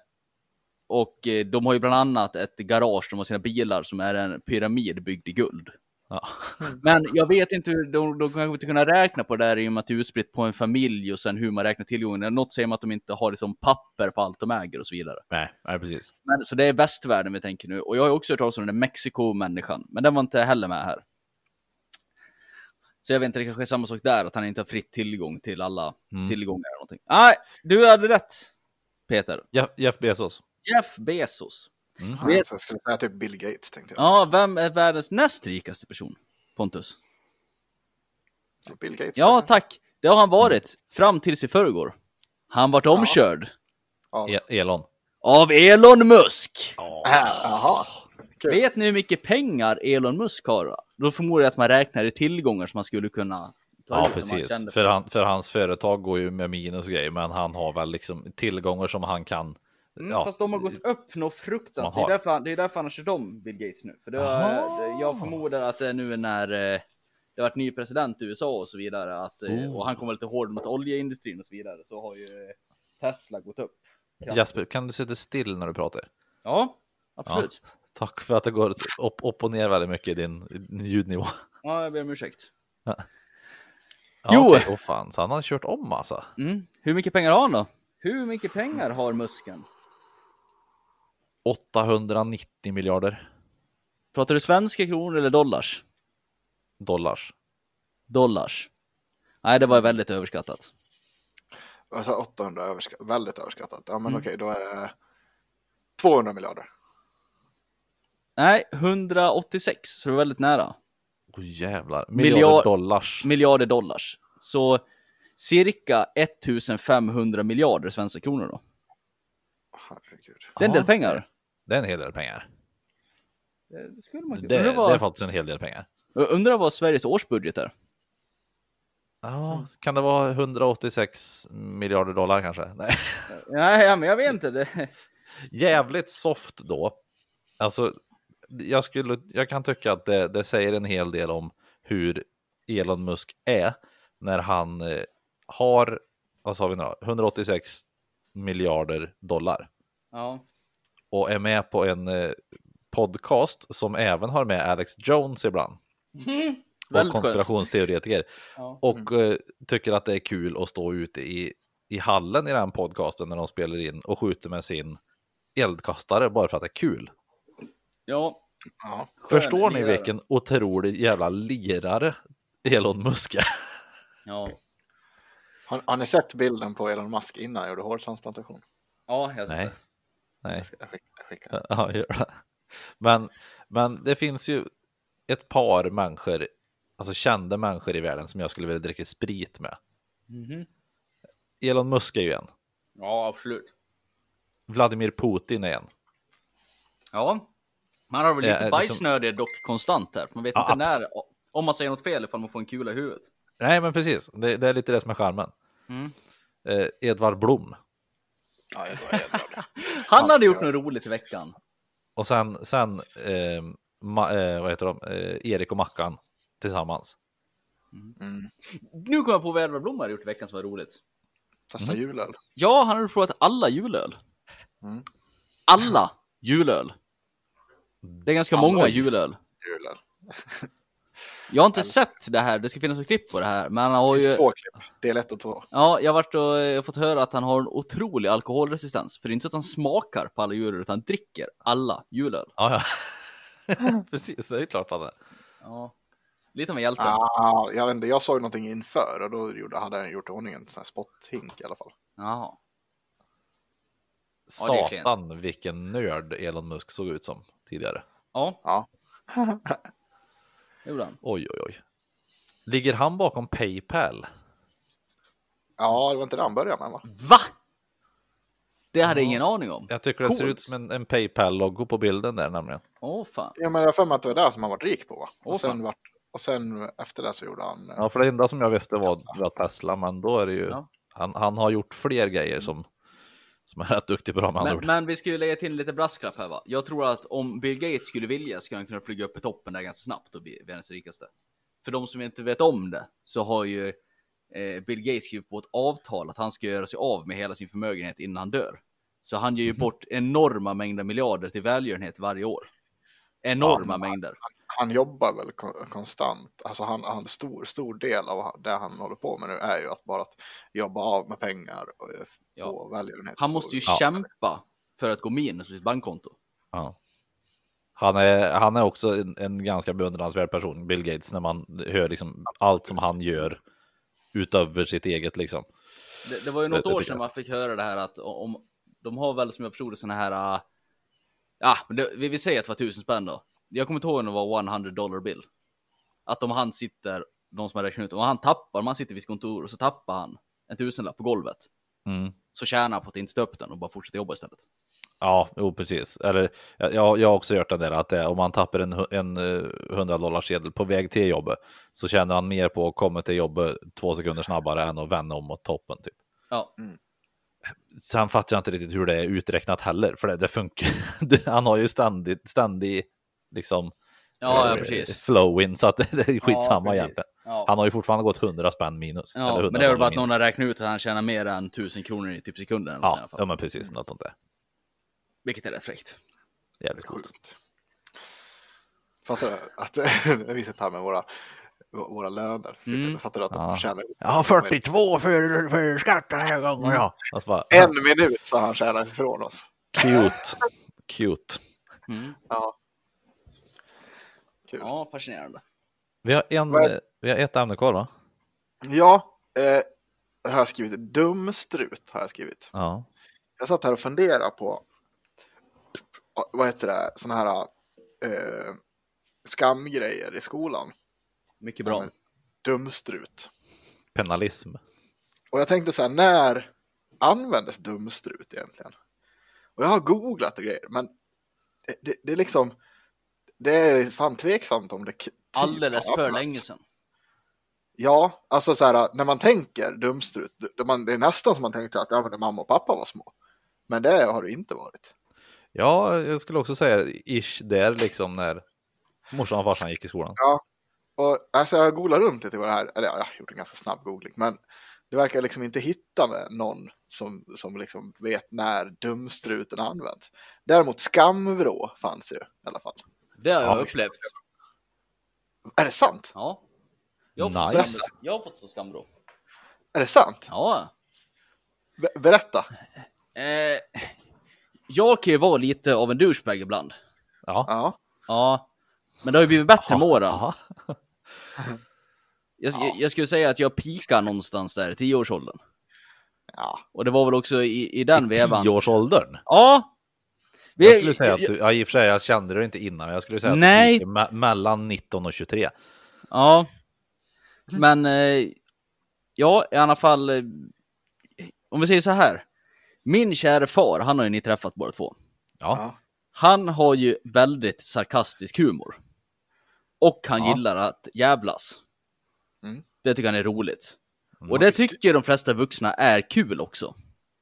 S3: och eh, de har ju bland annat ett garage, de har sina bilar som är en pyramid byggd i guld.
S2: Ja.
S3: Men jag vet inte hur, de, de kanske inte kunna räkna på det där i och med att det är utspritt på en familj och sen hur man räknar tillgången. Något säger man att de inte har det som papper på allt de äger och så vidare.
S2: Nej, nej, precis.
S3: Men, så det är västvärlden vi tänker nu. Och jag har ju också hört talas om den där Mexiko-människan, men den var inte heller med här. Så jag vet inte, det kanske är samma sak där, att han inte har fritt tillgång till alla
S2: Mm.
S3: tillgångar. Eller någonting. Nej, du hade rätt, Peter.
S2: Jeff, Jeff Bezos.
S3: Jeff Bezos.
S1: Ja, Jag skulle säga typ Bill Gates, tänkte jag.
S3: Ja, vem är världens näst rikaste person? Pontus.
S1: Bill Gates.
S3: Ja, typ. tack. Det har han varit fram tills i förrgår. Han vart omkörd
S1: Ja.
S2: E- Elon.
S3: av Elon Musk.
S1: Äh, Jaha. Kul.
S3: Vet ni hur mycket pengar Elon Musk har? Då förmodar jag att man räknar i tillgångar som man skulle kunna ta
S2: Ja,
S3: ut om man kände
S2: precis.
S3: för
S2: För, han, för hans företag går ju med minus och grejer, men han har väl liksom tillgångar som han kan.
S3: Mm,
S2: ja,
S3: Fast de har gått upp något fruktansvärt.
S2: Man
S3: Det är,
S2: har.
S3: därför han, det är därför han har kört om Bill Gates nu. För det
S2: Aha.
S3: har, jag förmodar att det är nu när eh, det har varit ny president i USA och så vidare. Att, eh,
S2: Oh.
S3: Och han kommer lite hård mot oljeindustrin och så vidare. Så har ju eh, Tesla gått upp.
S2: Jasper, kan du sitta still när du pratar?
S3: Ja,
S2: Ja.
S3: absolut.
S2: Tack för att det går upp, upp och ner väldigt mycket i din ljudnivå.
S3: Ja, jag ber om ursäkt.
S2: Ja,
S3: Jo.
S2: okej. Åh fan, så han har kört om alltså.
S3: Mm. Hur mycket pengar har han då? Hur mycket pengar har muskeln?
S2: 890 miljarder
S3: Pratar du svenska kronor eller dollars?
S2: dollars.
S3: Dollars. Nej, det var väldigt överskattat.
S1: Alltså 800 överskatt, väldigt överskattat. Ja, men
S3: Mm.
S1: okej, då är det 200 miljarder.
S3: Nej, 186, så det var väldigt nära.
S2: Åh jävlar.
S3: Miljard-
S2: Miljarder dollars.
S3: Miljarder dollars. Så cirka 1500 miljarder svenska kronor då.
S1: Herregud.
S3: Det är en del
S2: Ja.
S3: pengar.
S2: Det är en hel del pengar.
S3: Det skulle man
S2: Det,
S3: kunna- undrar,
S2: det är
S3: vad,
S2: faktiskt en hel del pengar.
S3: undrar vad Sveriges årsbudget är.
S2: Ja, kan det vara 186 miljarder dollar kanske? Nej.
S3: Nej, ja, men jag vet inte. Det,
S2: Jävligt soft då. Alltså, jag, skulle, jag kan tycka att det, det säger en hel del om hur Elon Musk är när han eh, har, vad sa vi nu då? 186 miljarder dollar.
S3: ja.
S2: och är med på en eh, podcast som även har med Alex Jones ibland. och
S3: väldigt skönt. Mm.
S2: konspirationsteoretiker.
S3: Ja.
S2: Och eh, tycker att det är kul att stå ute i, i hallen i den podcasten när de spelar in och skjuter med sin eldkastare bara för att det är kul.
S3: ja.
S1: Ja.
S3: Skön
S2: Förstår ni
S3: lirare.
S2: vilken otrolig jävla lirare Elon Musk är?
S3: Ja.
S1: Har, har ni sett bilden på Elon Musk innan han gjorde hårtransplantation?
S3: ja, jag ser
S2: Nej.
S3: det.
S2: Nej.
S1: Jag ska skicka. jag skickar.
S2: Ja, gör det. Men, men det finns ju ett par människor, alltså kända människor i världen som jag skulle vilja dricka sprit med.
S3: Mhm.
S2: Elon Musk är ju en.
S3: Ja, absolut.
S2: Vladimir Putin är en.
S3: Ja, man har väl
S2: Ja,
S3: lite
S2: liksom-
S3: bajsnödig dock konstant här. för Man vet
S2: Ja,
S3: inte när, om man säger något fel ifall man får en kula i huvudet. Mm.
S2: Nej, men precis. Det, det är lite det som är charmen. Eh, Edvard Blom.
S1: Nej, då är jag
S3: Mm.
S1: det.
S3: Han hade gjort
S1: ska-
S3: något roligt i veckan.
S2: Och sen, sen eh, ma, eh, vad heter de? Eh, Erik och Mackan tillsammans.
S1: Mm.
S3: Nu kommer jag på vad Edvard Blom hade gjort i veckan som var roligt.
S1: Testa julen.
S3: Ja, han hade provat alla julöl.
S1: Mm.
S3: Alla julöl. Det är ganska
S1: Alla
S3: många
S1: jul-
S3: julöl.
S1: julen.
S3: Jag har inte sett det här, det ska finnas ett klipp på det här, men han har
S1: Det
S3: ju...
S1: finns två klipp, del ett och två.
S3: Ja, jag har varit och eh, fått höra att han har en otrolig alkoholresistens. För det är inte så att han smakar på alla julöl, utan han dricker alla julöl.
S2: Ja, ja. Precis, det är klart han är.
S3: Ja. Lite av en hjälte.
S1: Ah, jag, vet inte, jag såg någonting inför och då gjorde, hade han gjort i ordning en sån här spotthink i alla fall.
S3: Jaha. Ja, det är klent.
S2: Satan vilken nörd Elon Musk såg ut som tidigare.
S3: Ja,
S1: Ja.
S3: det gjorde han.
S2: Oj, oj, oj. Ligger han bakom Paypal?
S1: ja, det var inte det han började med va?
S3: Va? Det hade jag ingen aning om.
S2: Jag tycker det ser
S3: Coolt.
S2: ut som en, en Paypal-logo på bilden där nämligen.
S3: Åh fan.
S1: Ja, men jag har för mig att det var där som han var rik på va?
S3: Åh,
S1: Och
S3: fan.
S1: sen, vart, och sen efter det så gjorde han... eh,
S2: Ja, för det enda som jag visste var, var Tesla, men då är det ju...
S3: Ja.
S2: Han, han har gjort fler grejer som, som är rätt duktig på dem.
S3: Men,
S2: Men, men...
S3: men vi ska ju lägga till en liten brasklapp här va. Jag tror att om Bill Gates skulle vilja skulle han kunna flyga upp i toppen där ganska snabbt och bli världens rikaste. För de som inte vet om det så har ju eh, Bill Gates skrivit på ett avtal att han ska göra sig av med hela sin förmögenhet innan han dör. Så han
S1: Mhm.
S3: ger ju bort enorma mängder miljarder till välgörenhet varje år. Enorma
S1: Ja.
S3: mängder.
S1: Han jobbar väl kon- konstant. Alltså han, han stor, stor del av det han håller på med nu är ju att bara att jobba av med pengar och eh,
S3: Ja.
S1: få välgörenhet.
S3: Han måste ju
S1: Så-
S2: Ja.
S3: kämpa för att gå minus på sitt bankkonto.
S2: ja. han, är, han är också en, en ganska beundransvärd person, Bill Gates, när man hör liksom allt som han gör utöver sitt eget. Liksom.
S3: Det, det var ju
S2: Det-
S3: något
S2: det
S3: år
S2: tycker
S3: sedan
S2: jag.
S3: man fick höra det här att om de har väl som jag förstod det såna här. äh, Ja, men det, vi, vi säger att det var tusen spänn då. Jag kommer inte ihåg om det var 100 dollar bill. Att om han sitter, de som har räknat ut, om han tappar, om han sitter vid sitt kontor och så tappar han en tusenlapp på golvet.
S2: Mm.
S3: Så tjänar han på att inte ta upp den och bara fortsätta jobba istället.
S2: Ja, jo, precis. Eller, jag, jag har också hört den där att det, om man tappar en, hu- en 100 dollar sedel på väg till jobbet så tjänar han mer på att komma till jobbet två sekunder snabbare än att vända om mot toppen. Typ.
S3: Ja,
S2: Sen fattar jag inte riktigt hur det är uträknat heller, för det, det funkar. det- Han har ju ständigt, ständig liksom,
S3: ja, ja
S2: eh,
S3: precis.
S2: flow in, så att det är skitsamma
S3: precis.
S2: egentligen.
S3: Ja.
S2: Han har ju fortfarande gått 100 spänn minus. eller
S3: Ja,
S2: 100
S3: men det är väl bara
S2: dollar
S3: att någon
S2: minus.
S3: har räknat ut att han tjänar mer än tusen kronor i typ sekunden. eller något i alla
S2: Ja,
S3: fall.
S2: ja, men precis, något sånt där.
S3: Vilket är rätt fräckt.
S2: Jävligt coolt.
S1: Sjukt. Fattar du? Att det vi sitter här med våra, våra löner. Sitter-
S3: Mm.
S1: Fattar du att de
S2: Ja.
S1: tjänar
S2: Jag har 42 för, för skatt den här gången, ja. Och så bara,
S1: en minut så han tjänar ifrån oss.
S2: Alltså, Cute. Cute.
S3: Mm.
S1: Ja. Kul.
S3: Ja, fascinerande.
S2: Vi har, en,
S1: Vad-
S2: vi har ett ämne kvar, va?
S1: Ja, eh, har jag skrivit. Dumstrut har jag skrivit.
S2: Ja.
S1: Jag satt här och funderade på, vad heter det, sådana här eh, skamgrejer i skolan.
S3: Mycket bra.
S1: Ja, men- typ. Dumstrut.
S2: Penalism.
S1: Och jag tänkte så här, när användes dumstrut egentligen? Och jag har googlat och grejer, men det, det, det är liksom, det är fan tveksamt om det k- typ
S3: Alldeles
S1: har
S3: för
S1: använts.
S3: länge sedan.
S1: Ja, alltså så här, när man tänker dumstrut, det, man, det är nästan som man tänkte att ja, men när mamma och pappa var små. Men det har det inte varit.
S2: Ja, jag skulle också säga ish där liksom när morsan och farsan gick i skolan.
S1: Och alltså jag googlade runt lite vad det här, eller ja, jag har gjort en ganska snabb googling, men det verkar liksom inte hitta någon som, som liksom vet när dumstruten används. Däremot skamvrå fanns ju i alla fall.
S3: Det har jag
S2: Ja, visst.
S3: upplevt.
S1: Är det sant?
S3: Ja. Jag har, fått
S2: Nice.
S3: skam, jag har fått så skambrå.
S1: Är det sant?
S3: Ja.
S1: Be- berätta.
S3: Eh, jag kan ju vara lite av en douchebag ibland.
S2: Ja.
S1: Ja.
S3: Ja. Men det har ju blivit bättre med åren.
S2: Aha.
S3: Jag, jag, jag skulle säga att jag pikar någonstans där i tioårsåldern.
S1: ja.
S3: Och det var väl också i, i den vevan.
S2: Tioårsåldern.
S3: Ja. Vi-
S2: Jag skulle säga att du, ja, i och för sig, jag kände det inte innan, jag skulle säga att
S3: Nej.
S2: du gick me- mellan 19 och 23.
S3: Ja. Men eh, ja, i alla fall. Eh, om vi säger så här. Min kära far, han har ju ni träffat båda två.
S2: Ja.
S3: Han har ju väldigt sarkastisk humor. Och han
S2: Ja.
S3: gillar att jävlas.
S1: Mm.
S3: Det tycker han är roligt.
S2: Mm.
S3: Och det tycker de flesta vuxna är kul också.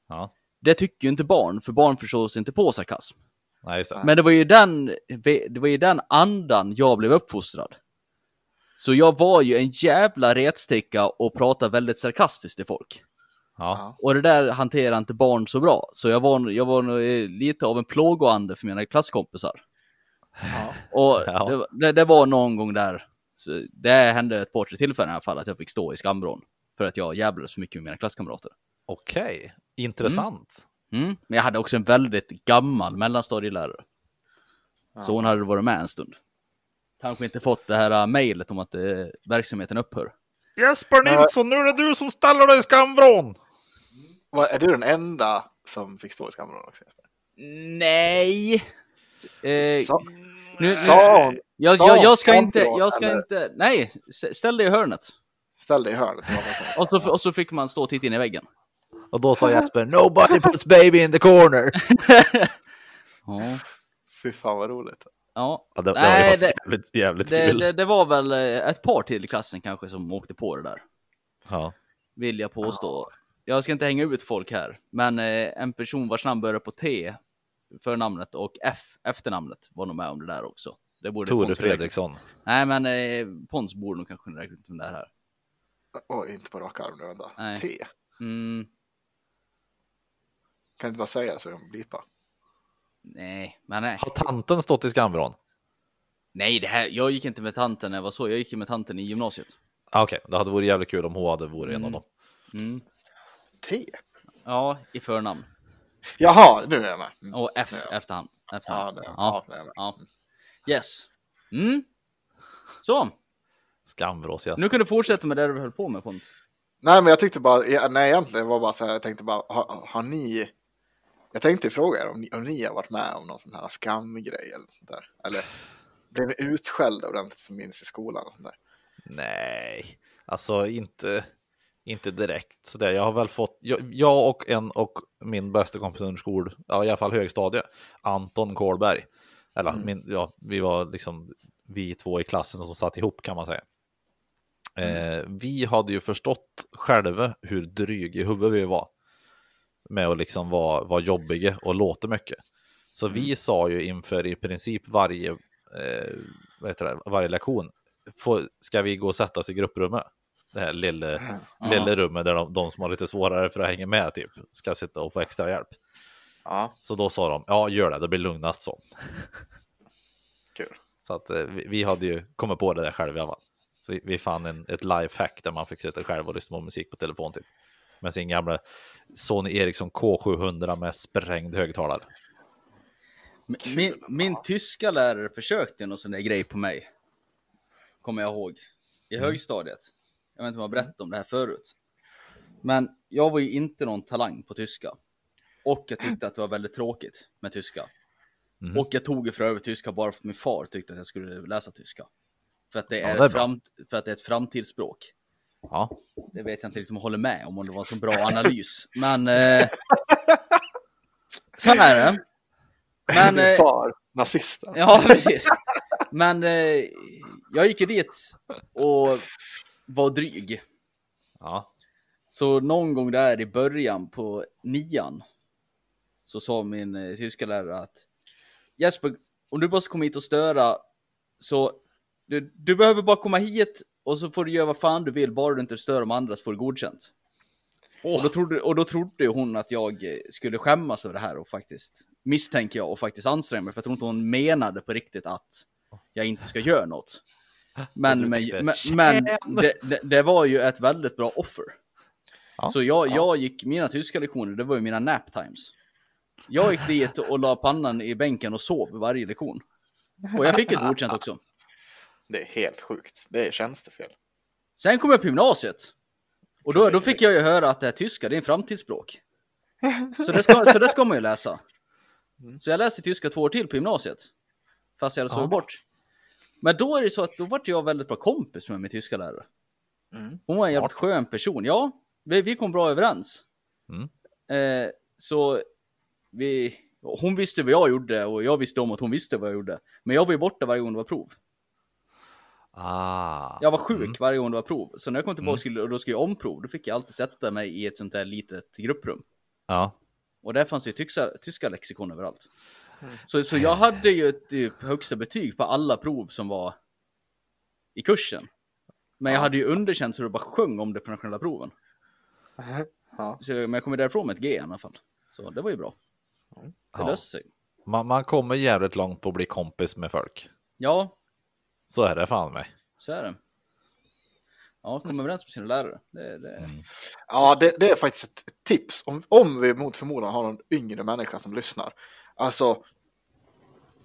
S2: Ja.
S3: Det tycker ju inte barn, för barn förstår sig inte på sarkasm.
S2: Nej, just det.
S3: Men det var ju den, det var ju den andan jag blev uppfostrad. Så jag var ju en jävla retsticka och pratade väldigt sarkastiskt till folk.
S2: Ja.
S3: Och det där hanterar inte barn så bra. Så jag var, jag var nog, eh, lite av en plågoande för mina klasskompisar.
S1: Ja.
S3: Och
S2: Ja.
S3: det, var- det, det var någon gång där, så det hände ett par tre tillfällen i alla fall, att jag fick stå i skambron. För att jag jävlades för mycket med mina klasskamrater.
S2: Okej, intressant.
S3: Mm. Men jag hade också en väldigt gammal mellanstadielärare. Så hon hade varit med en stund. Kanske inte fått det här äh, mejlet om att eh, verksamheten upphör.
S2: Mm. Jesper
S1: Men-
S2: Nilsson, nu är det du som ställer dig i skamvrån!
S1: Vad- Är du den enda som fick stå i skamvrån också?
S3: Nej! Eh,
S1: Sa,
S3: nu,
S1: sa hon,
S3: jag,
S1: sa
S3: jag, jag ska
S1: hon
S3: inte,
S1: då,
S3: jag ska
S1: eller?
S3: inte, nej, s- ställ dig i hörnet.
S1: ställ dig i hörnet. det var hon som sa.
S3: Och så, och så fick man stå och titta in i väggen.
S2: Och då sa Jesper, nobody puts baby in the corner.
S3: Ja.
S1: Fy fan vad roligt.
S3: ja.
S2: Ja, det, det
S3: Nej,
S2: var ju
S3: det-
S2: faktiskt jävligt, jävligt
S3: Det,
S2: kul.
S3: det, det var väl eh, ett par till i klassen kanske som åkte på det där,
S2: Ja.
S3: vill jag påstå. Jag ska inte hänga ut folk här, men eh, en person vars namn börjar på T, förnamnet och F, efternamnet, var nog med om det där också. Det borde
S2: Tore
S3: Pons direkt-
S2: Fredriksson.
S3: Nej, men eh, Pons borde nog kanske räkna ut vem det här är.
S1: Oj, inte på rak arm nu. Vänta.
S3: Nej.
S1: T.
S3: Mm,
S1: Kan du inte bara säga det så jag kan blipa?
S3: nej, men nej.
S2: Har tanten stått i skamvrån?
S3: Nej, det här, jag gick inte med tanten när jag var så, jag gick ju med tanten i gymnasiet.
S2: Ah, Okej, det hade varit jävligt kul om hon hade varit en av dem.
S3: Mm.
S1: T?
S3: Ja, i förnamn.
S1: Jaha, nu är jag med. Mm.
S3: Och F
S1: Ja.
S3: efterhand.
S1: Ja,
S3: efterhand.
S1: det, ja.
S3: ja.
S1: det är jag med.
S3: ja. Yes. Mm. Så,
S2: Skamvrås Jesper.
S3: nu kan du fortsätta med det du höll på med Pont.
S1: Nej, men jag tyckte bara, ja, nej egentligen var det bara så här, jag tänkte bara, har, har ni, jag tänkte fråga er om ni, om ni har varit med om någon sån här skamgrej eller något sånt där. Eller blev ni utskällda ordentligt som minns i skolan? Och sånt där.
S2: Nej, alltså inte, inte direkt sådär. Jag har väl fått, jag, jag och en och min bästa kompis under skol, ja, i alla fall högstadiet, Anton Kålberg. Eller min, ja, vi var liksom vi två i klassen som satt ihop kan man säga. Eh, vi hade ju förstått själva hur dryg i huvudet vi var med att liksom vara, vara jobbiga och låta mycket. Så vi sa ju inför i princip varje, eh, vad heter det, varje lektion, får, ska vi gå och sätta oss i grupprummet? Det här lilla, lilla rummet där de, de som har lite svårare för att hänga med typ, ska sitta och få extra hjälp.
S1: Ja,
S2: Så då sa de, ja gör det, det blir lugnast så.
S1: kul.
S2: Så att eh, vi, vi hade ju kommit på det där själva i alla fall. Så vi, vi fann en, ett lifehack där man fick sitta själv och lyssna på musik på telefon typ. Med sin gamla Sony Ericsson K700 med sprängd högtalare.
S3: Min, min tyska lärare försökte någon sån där grej på mig. Kommer jag ihåg. I högstadiet. Jag vet inte om jag berättade om det här förut. Men jag var ju inte någon talang på tyska. Och jag tyckte att det var väldigt tråkigt med tyska. Och jag tog ju för övrigt tyska bara för att min far tyckte att jag skulle läsa tyska. För att det
S2: Ja,
S3: är,
S2: det är
S3: ett
S2: bra.
S3: fram, för att det är ett framtidsspråk.
S2: Ja,
S3: Det vet jag inte riktigt om jag håller med om, om det var en så bra analys. Men... Eh, så här är det. Men,
S1: Din
S3: eh,
S1: far, nazisten.
S3: Ja, precis. Men eh, jag gick ju dit och var dryg.
S2: ja,
S3: Så någon gång där i början på nian så sa min eh, tyska lärare att Jesper, om du bara ska komma hit och störa så du, du behöver bara komma hit och så får du göra vad fan du vill, bara du inte stör de andra så får du godkänt. Och, då trodde, och då trodde hon att jag eh, skulle skämmas över det här och faktiskt misstänker jag och faktiskt anstränga mig för jag tror inte hon menade på riktigt att jag inte ska göra något. Men,
S2: Och du
S3: men,
S2: tyckte,
S3: men, men det, det, det var ju ett väldigt bra offer.
S2: Ja,
S3: Så jag, jag gick, mina tyska lektioner, det var ju mina nap times. Jag gick dit och la pannan i bänken och sov varje lektion. Och jag fick ett godkänt också.
S1: Det är helt sjukt. Det är tjänstefel.
S3: Sen kom jag på gymnasiet. Och då, då fick jag ju höra att det här tyska, det är en framtidsspråk. Så det ska, så det ska man ju läsa. Så jag läste tyska två år till på gymnasiet. Fast jag hade sovit
S2: Mm. Ja.
S3: bort. Men då är det så att då vart jag väldigt bra kompis med min tyska lärare.
S1: Mm.
S3: Hon var en jävligt skön person. Ja, vi, vi kom bra överens.
S2: Mm.
S3: Eh, så vi, hon visste vad jag gjorde och jag visste om att hon visste vad jag gjorde. Men jag var ju borta varje gång det var prov.
S2: ah,
S3: Jag var sjuk varje gång det var prov. Så när jag kom tillbaka skulle, och då skulle jag omprov, då fick jag alltid sätta mig i ett sånt där litet grupprum.
S2: ja,
S3: Och där fanns ju tyska, tyska lexikon överallt. Så, så jag hade ju ett typ, högsta betyg på alla prov som var i kursen. Men jag hade ju underkänt så det bara sjöng om det på nationella proven.
S1: Ja.
S3: Så, men jag kom ju därifrån med ett G i alla fall. Så det var ju bra. Det
S2: Ja.
S3: löste sig.
S2: Man, man kommer jävligt långt på att bli kompis med folk.
S3: Ja,
S2: Så är det fan mig.
S3: så är det. Ja, kom överens med sina lärare. Det, det.
S1: Ja, det, det är faktiskt ett tips. Om, om vi mot förmodan har någon yngre människa som lyssnar. Alltså,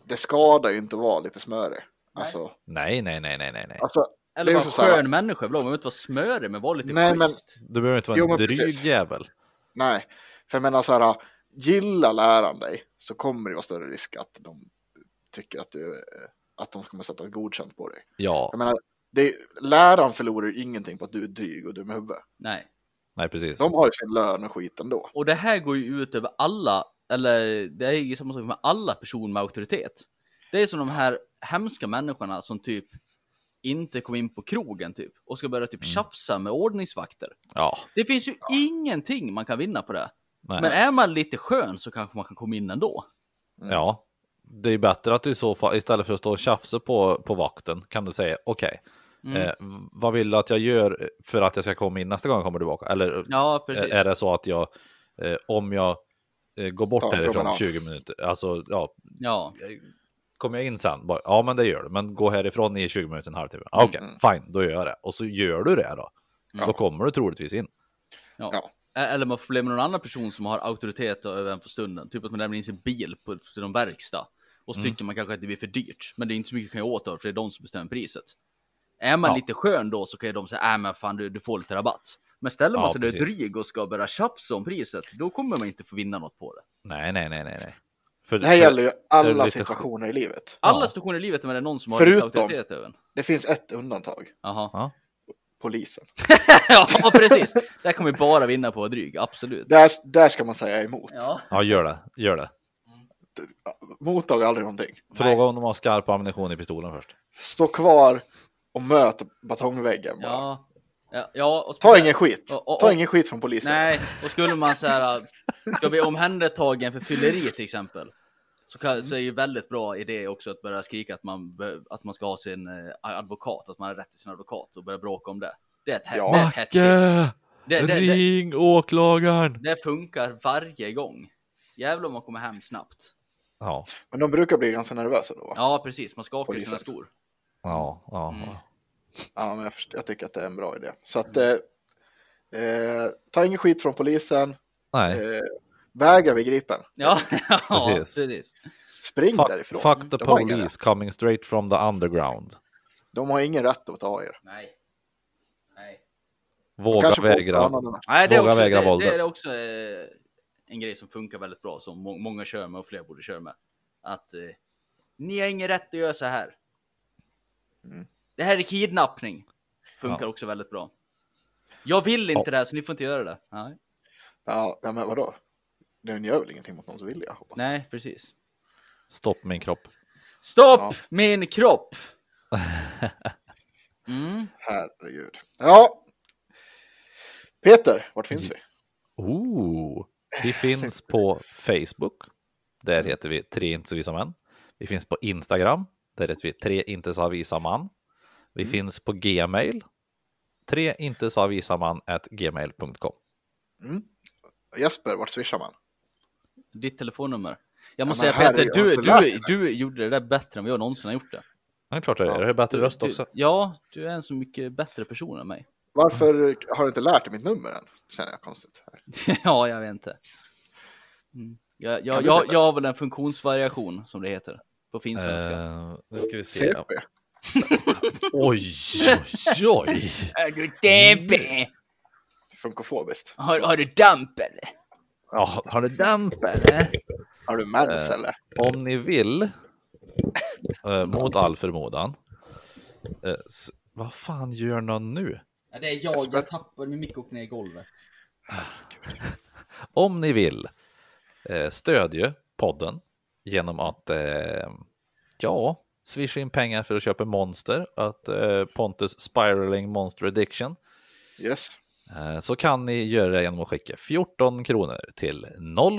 S1: det skadar ju inte att vara lite smörig. Alltså,
S2: Nej, nej, nej, nej, nej, nej.
S1: alltså,
S3: Eller
S1: ju
S3: vara en
S1: så så här-
S3: skön människa, ibland. man behöver inte vara smörig, men var lite
S1: Nej, men-
S3: schysst.
S2: Du behöver inte vara
S1: Jo,
S2: en
S1: men
S2: dryg
S1: precis.
S2: jävel.
S1: nej, för jag menar så här, gilla läraren dig så kommer det vara större risk att de tycker att du, eh, att de kommer sätta ett godkänt på dig.
S2: Ja,
S1: Jag menar, det, läraren förlorar ju ingenting på att du är dryg och dum i huvudet.
S3: Nej.
S2: nej precis.
S1: De har ju sin lön och skit ändå.
S3: Och det här går ju ut över alla, eller det är ju samma sak med alla personer med auktoritet. Det är som de här hemska människorna som typ inte kom in på krogen typ och ska börja typ tjafsa med ordningsvakter.
S2: Mm. Ja,
S3: Det finns ju ingenting man kan vinna på det.
S2: nej.
S3: Men är man lite skön så kanske man kan komma in ändå.
S2: ja. Det är bättre att du i så fall, istället för att stå och tjafsa på, på vakten, kan du säga okej,
S3: Mm.
S2: eh, v- vad vill du att jag gör för att jag ska komma in nästa gång jag kommer tillbaka? Eller eh,
S3: Ja, precis.
S2: Är det så att jag, eh, om jag eh, går bort
S1: Ta en
S2: härifrån
S1: promenad.
S2: 20 minuter, alltså ja,
S3: Ja,
S2: kommer jag in sen? Bara, ja, men det gör du, men gå härifrån i 20 minuter, en halvtimme. Ah, Okej,
S1: Mm.
S2: fine, då gör jag det. Och så gör du det då. Då kommer du troligtvis in.
S3: ja.
S1: Ja.
S3: Ä- Eller man får problem med någon annan person som har auktoritet över en på stunden. Typ att man lämnar in sin bil på till någon verkstad. Och så
S2: Mm.
S3: tycker man kanske att det blir för dyrt. Men det är inte så mycket du kan göra åt det, för det är de som bestämmer priset. Är man
S2: Ja.
S3: lite skön då så kan ju de säga, äh men fan du, du får lite rabatt. Men ställer man
S2: Ja,
S3: sig där
S2: precis.
S3: dryg och ska börja tjafsa om priset, då kommer man inte få vinna något på det.
S2: Nej, nej, nej, nej, nej. För,
S1: Det här gäller ju
S2: det är
S1: alla
S2: lite
S1: situationer i livet.
S3: Alla
S2: Ja.
S3: situationer i livet där det är någon som har
S1: Förutom-
S3: lite auktoritet över en.
S1: Det finns ett undantag,
S3: Jaha.
S2: Ja.
S1: polisen.
S3: ja, precis. Där kommer vi bara vinna på att vara dryg, absolut.
S1: Där, där ska man säga emot.
S3: Ja.
S2: Ja, gör det. Gör det.
S1: Mottag aldrig någonting.
S2: Fråga om de har skarp ammunition i pistolen först.
S1: Stå kvar och möt batongväggen bara.
S3: Ja. Ja, ja och
S1: Ta ingen skit.
S3: Och- och-
S1: Ta
S3: och-
S1: ingen skit från polisen.
S3: Nej, och skulle man så här, ska bli omhändertagen för fylleri till exempel, så, kan, så är ju väldigt bra idé också att börja skrika att man, be- att man ska ha sin eh, advokat, att man har rätt till sin advokat och börja bråka om det. Det är ett, hett-
S1: Ja.
S3: det är ett hett tips. Det, det, det,
S2: Ring åklagaren!
S3: det funkar varje gång. Jävlar om man kommer hem snabbt.
S2: Ja,
S1: Men de brukar bli ganska nervösa då. va?
S3: Ja, precis, man skakar i sina
S1: Polisen.
S3: skor.
S2: ja, ja.
S3: Mm.
S1: Ja, men jag, först- jag tycker att det är en bra idé. Så att, eh, eh, ta ingen skit från polisen.
S2: Nej,
S1: Eh, väga vid gripen.
S3: Ja, ja
S2: Precis.
S3: precis.
S1: Spring
S2: fuck,
S1: därifrån.
S2: fuck the
S1: de, har ingen,
S2: police coming straight from the underground.
S1: de har ingen rätt att ta er.
S3: Nej. Nej.
S2: Våga
S1: Kanske påstå
S2: vägra.
S1: annan-
S3: Nej, det är
S2: Våga
S3: också,
S2: vägra
S3: det,
S2: våldet.
S3: Det är också eh, en grej som funkar väldigt bra som må många kör med och fler borde köra med. Att eh, ni har ingen rätt att göra så här.
S1: Mm.
S3: Det här är kidnappning. Funkar
S2: Ja.
S3: också väldigt bra. Jag vill inte det här så ni får inte göra det. Nej,
S1: Ja, ja, men vadå? Den gör väl ingenting mot någons vilja? Hoppas. jag.
S3: Nej precis.
S2: Stopp min kropp.
S3: Stopp
S1: Ja.
S3: min kropp! Mm.
S1: Herregud. Ja. Peter, vart
S2: Mm.
S1: finns vi?
S2: Ooh. Vi finns på Facebook. Där heter vi Tre inte så visa män. Vi finns på Instagram. Där heter vi Tre inte så visa man. Vi
S1: Mm.
S2: finns på Gmail. Tre inte så visa man at gmail.com.
S1: Jesper, vart swishar man?
S3: Ditt telefonnummer. Jag måste
S1: men
S3: säga
S1: här är
S3: Peter,
S1: jag
S3: du,
S1: inte lärt
S3: du, du gjorde det där bättre än vad jag någonsin har gjort det.
S2: Ja, det är klart det är. Det är bättre röst också.
S3: Du, ja, du är en så mycket bättre person än mig.
S1: Varför har du inte lärt dig mitt nummer än? Känner jag konstigt. Här.
S3: ja, jag vet inte. Mm. Jag, jag,
S1: du
S3: jag,
S1: berätta?
S3: jag har väl en funktionsvariation som det heter på finsvenska.
S2: Eh, nu ska vi se.
S1: CP.
S2: Oj, oj, oj.
S3: Uh,
S1: Funkofobiskt.
S3: har, har du damp eller?
S2: Ja, har du damper?
S1: Har du mens
S2: Eh.
S1: eller?
S2: om ni vill, eh, mot all förmodan. Eh, s- vad fan gör någon nu?
S3: Ja, det är jag, jag tappade min mick och ner i golvet.
S2: Om ni vill eh, stödja podden genom att eh, ja, swisha in pengar för att köpa monster, att eh, Pontus Spiraling Monster Addiction.
S1: Yes.
S2: Eh, Så kan ni göra det genom att skicka 14 kronor till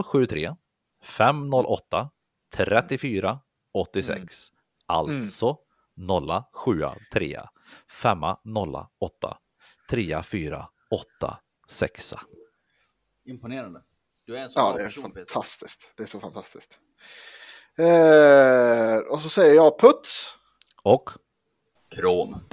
S2: 073 508 34 86. Alltså 073 508 348 6.
S3: Imponerande. Du är en sån
S1: Ja,
S3: bra
S1: det är
S3: person, Peter.
S1: fantastiskt. Det är så fantastiskt. Eh, och så säger jag puts.
S2: Och
S3: Krom.